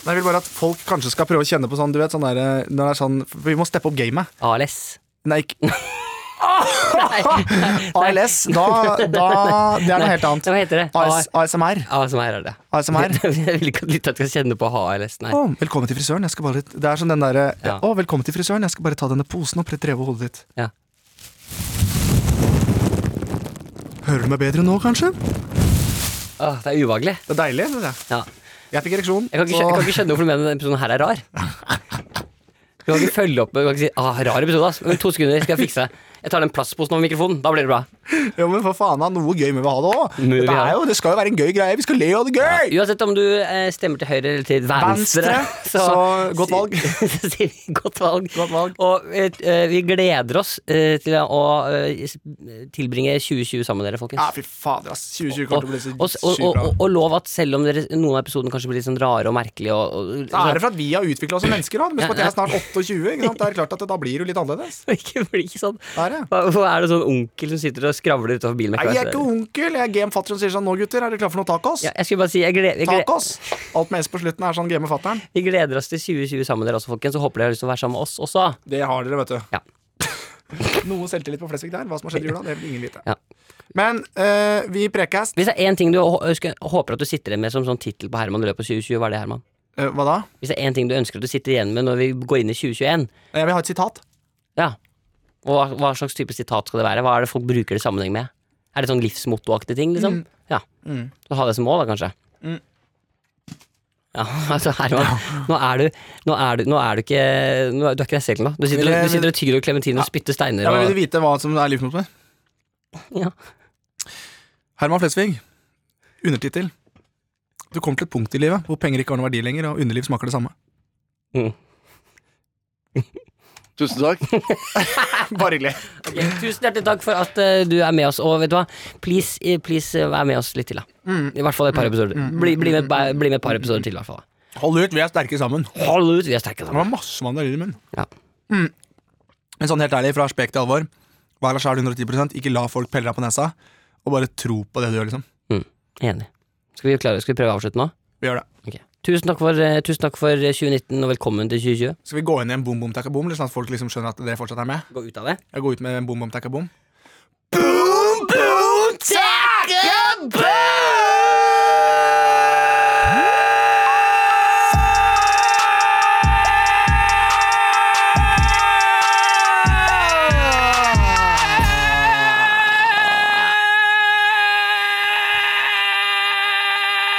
Speaker 2: Jeg vil bare at folk kanskje skal prøve å kjenne på sånn, du vet, sånn der, eh, når det er sånn for Vi må steppe opp gamet.
Speaker 3: ALS.
Speaker 2: Nei, ikke ALS, da, da Det er noe helt annet.
Speaker 3: Hva heter det?
Speaker 2: AS, ASMR.
Speaker 3: ASMR er det.
Speaker 2: ASMR.
Speaker 3: Jeg vil ikke at lytterne skal kjenne på ALS, nei.
Speaker 2: Å, velkommen til frisøren. Jeg skal bare litt Det er som den derre
Speaker 3: Ja.
Speaker 2: Å, velkommen til frisøren. Jeg skal bare ta denne posen og prøve over hodet ditt.
Speaker 3: Ja.
Speaker 2: Hører du meg bedre nå, kanskje?
Speaker 3: Åh, det er ubehagelig.
Speaker 2: Det er deilig. Det der.
Speaker 3: Ja.
Speaker 2: Jeg fikk ereksjon.
Speaker 3: Jeg kan, ikke, skjø- jeg kan ikke skjønne hvorfor du mener denne episoden her er rar. Du kan ikke følge opp med du kan ikke si, ah, rar episode, ass. Men to sekunder skal jeg fikse. Jeg tar den plastposen over mikrofonen, da blir det bra.
Speaker 2: så, jo, men for faen, da, noe gøy må vi ha det òg.
Speaker 3: Må vi
Speaker 2: Det,
Speaker 3: ha
Speaker 2: er
Speaker 3: det.
Speaker 2: jo- det skal jo være en gøy greie. Vi skal le og ha det gøy!
Speaker 3: Uansett om du eh, stemmer til høyre eller til venstre,
Speaker 2: Venstre, så godt valg.
Speaker 3: Så sier vi godt valg.
Speaker 2: Godt valg.
Speaker 3: Og eh, eh, vi gleder oss eh, til å eh, s- tilbringe 2020 sammen med dere, folkens.
Speaker 2: Ja, fy fader, ass. 2020
Speaker 3: Og,
Speaker 2: kommer til å bli så
Speaker 3: og, og,
Speaker 2: sykt
Speaker 3: og,
Speaker 2: bra.
Speaker 3: og, og lov at selv om dere, noen av episodene kanskje blir litt sånn rare og merkelige og, og,
Speaker 2: Da er det for at vi har utvikla oss som mennesker òg. Mens på at jeg er snart 28, ikke sant? det er klart at det, da blir det jo litt annerledes.
Speaker 3: ikke blir ikke sånn
Speaker 2: Det er det.
Speaker 3: Hva- Hvorfor er det sånn onkel som sitter og skravler utenfor bilen?
Speaker 2: Nei, jeg er ikke onkel. Jeg er gamefatter som sier sånn Nå, gutter, er dere klare for noe tacos?
Speaker 3: ja, jeg skulle bare si, jeg gleder, jeg gleder,
Speaker 2: Tacos! Alt med S på slutten er sånn gamefatter'n.
Speaker 3: vi gleder oss til 2020 sammen med dere også, folkens. Og håper dere har lyst til å være sammen med oss også.
Speaker 2: Det har dere, vet du.
Speaker 3: Ja.
Speaker 2: Noe selvtillit på Flesvig der. Hva som har skjedd i jula, det vil ingen vite.
Speaker 3: Ja.
Speaker 2: Men eh, vi i Prekast
Speaker 3: Hvis det er én ting du hå- ønsker, håper at du sitter igjen med som sånn tittel på Herman i løpet av 2020, hva er det, Herman?
Speaker 2: eh, Hva da?
Speaker 3: Hvis det er én ting du ønsker at du sitter igjen med når vi går inn i 2021,
Speaker 2: Jeg vil ha Eh, et sitat.
Speaker 3: ja. og hva, hva slags type sitat skal det være? Hva er det folk bruker det i sammenheng med? Er det sånn livsmottoaktig ting, liksom? Ja.
Speaker 2: Mm.
Speaker 3: Så ha det som mål, da, kanskje. Ja, altså Herman, nå er du Nå er du, nå er du ikke nå er, Du er ikke deg selv nå. Du sitter,
Speaker 2: Vil jeg-
Speaker 3: du sitter og tygger og klementiner og spytter steiner
Speaker 2: Ja, men vil
Speaker 3: og
Speaker 2: du vite hva som er livsmotet?
Speaker 3: ja.
Speaker 2: Herman Flesvig. Undertittel. Du kommer til et punkt i livet hvor penger ikke har noen verdi lenger, og underliv smaker det samme.
Speaker 3: mm.
Speaker 1: Tusen takk.
Speaker 2: Bare hyggelig.
Speaker 3: Ok, Tusen hjertelig takk for at eh, du er med oss, og vet du hva, please, eh, please eh, vær med oss litt til, da.
Speaker 2: Mm.
Speaker 3: I hvert fall et par episoder. Bli, bli, med, bli med et par episoder til, i hvert fall. da.
Speaker 2: Hold ut, vi er sterke sammen. Det
Speaker 3: Hold ut, vi er sterke sammen.
Speaker 2: var masse mandariner i munnen.
Speaker 3: Ja.
Speaker 2: Men sånn helt ærlig, fra spek til alvor, vær deg sjæl 110 ikke la folk pelle deg på nesa, og bare tro på det du gjør, liksom.
Speaker 3: Mm, enig. Skal vi, klare, skal vi prøve å avslutte nå?
Speaker 2: Vi gjør det.
Speaker 3: Ok. Tusen, takk for, eh, tusen takk for eh, 2019, og velkommen til 2020.
Speaker 2: Skal vi gå inn i en bom, bom, takka, bom, eller sånn at folk liksom skjønner at det fortsatt er med?
Speaker 3: Gå ut av det.
Speaker 2: Jeg går ut med en bom, bom, takka, bom.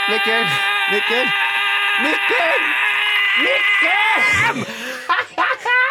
Speaker 2: Mikkel! Mikkel! Mikkel! Mikkel!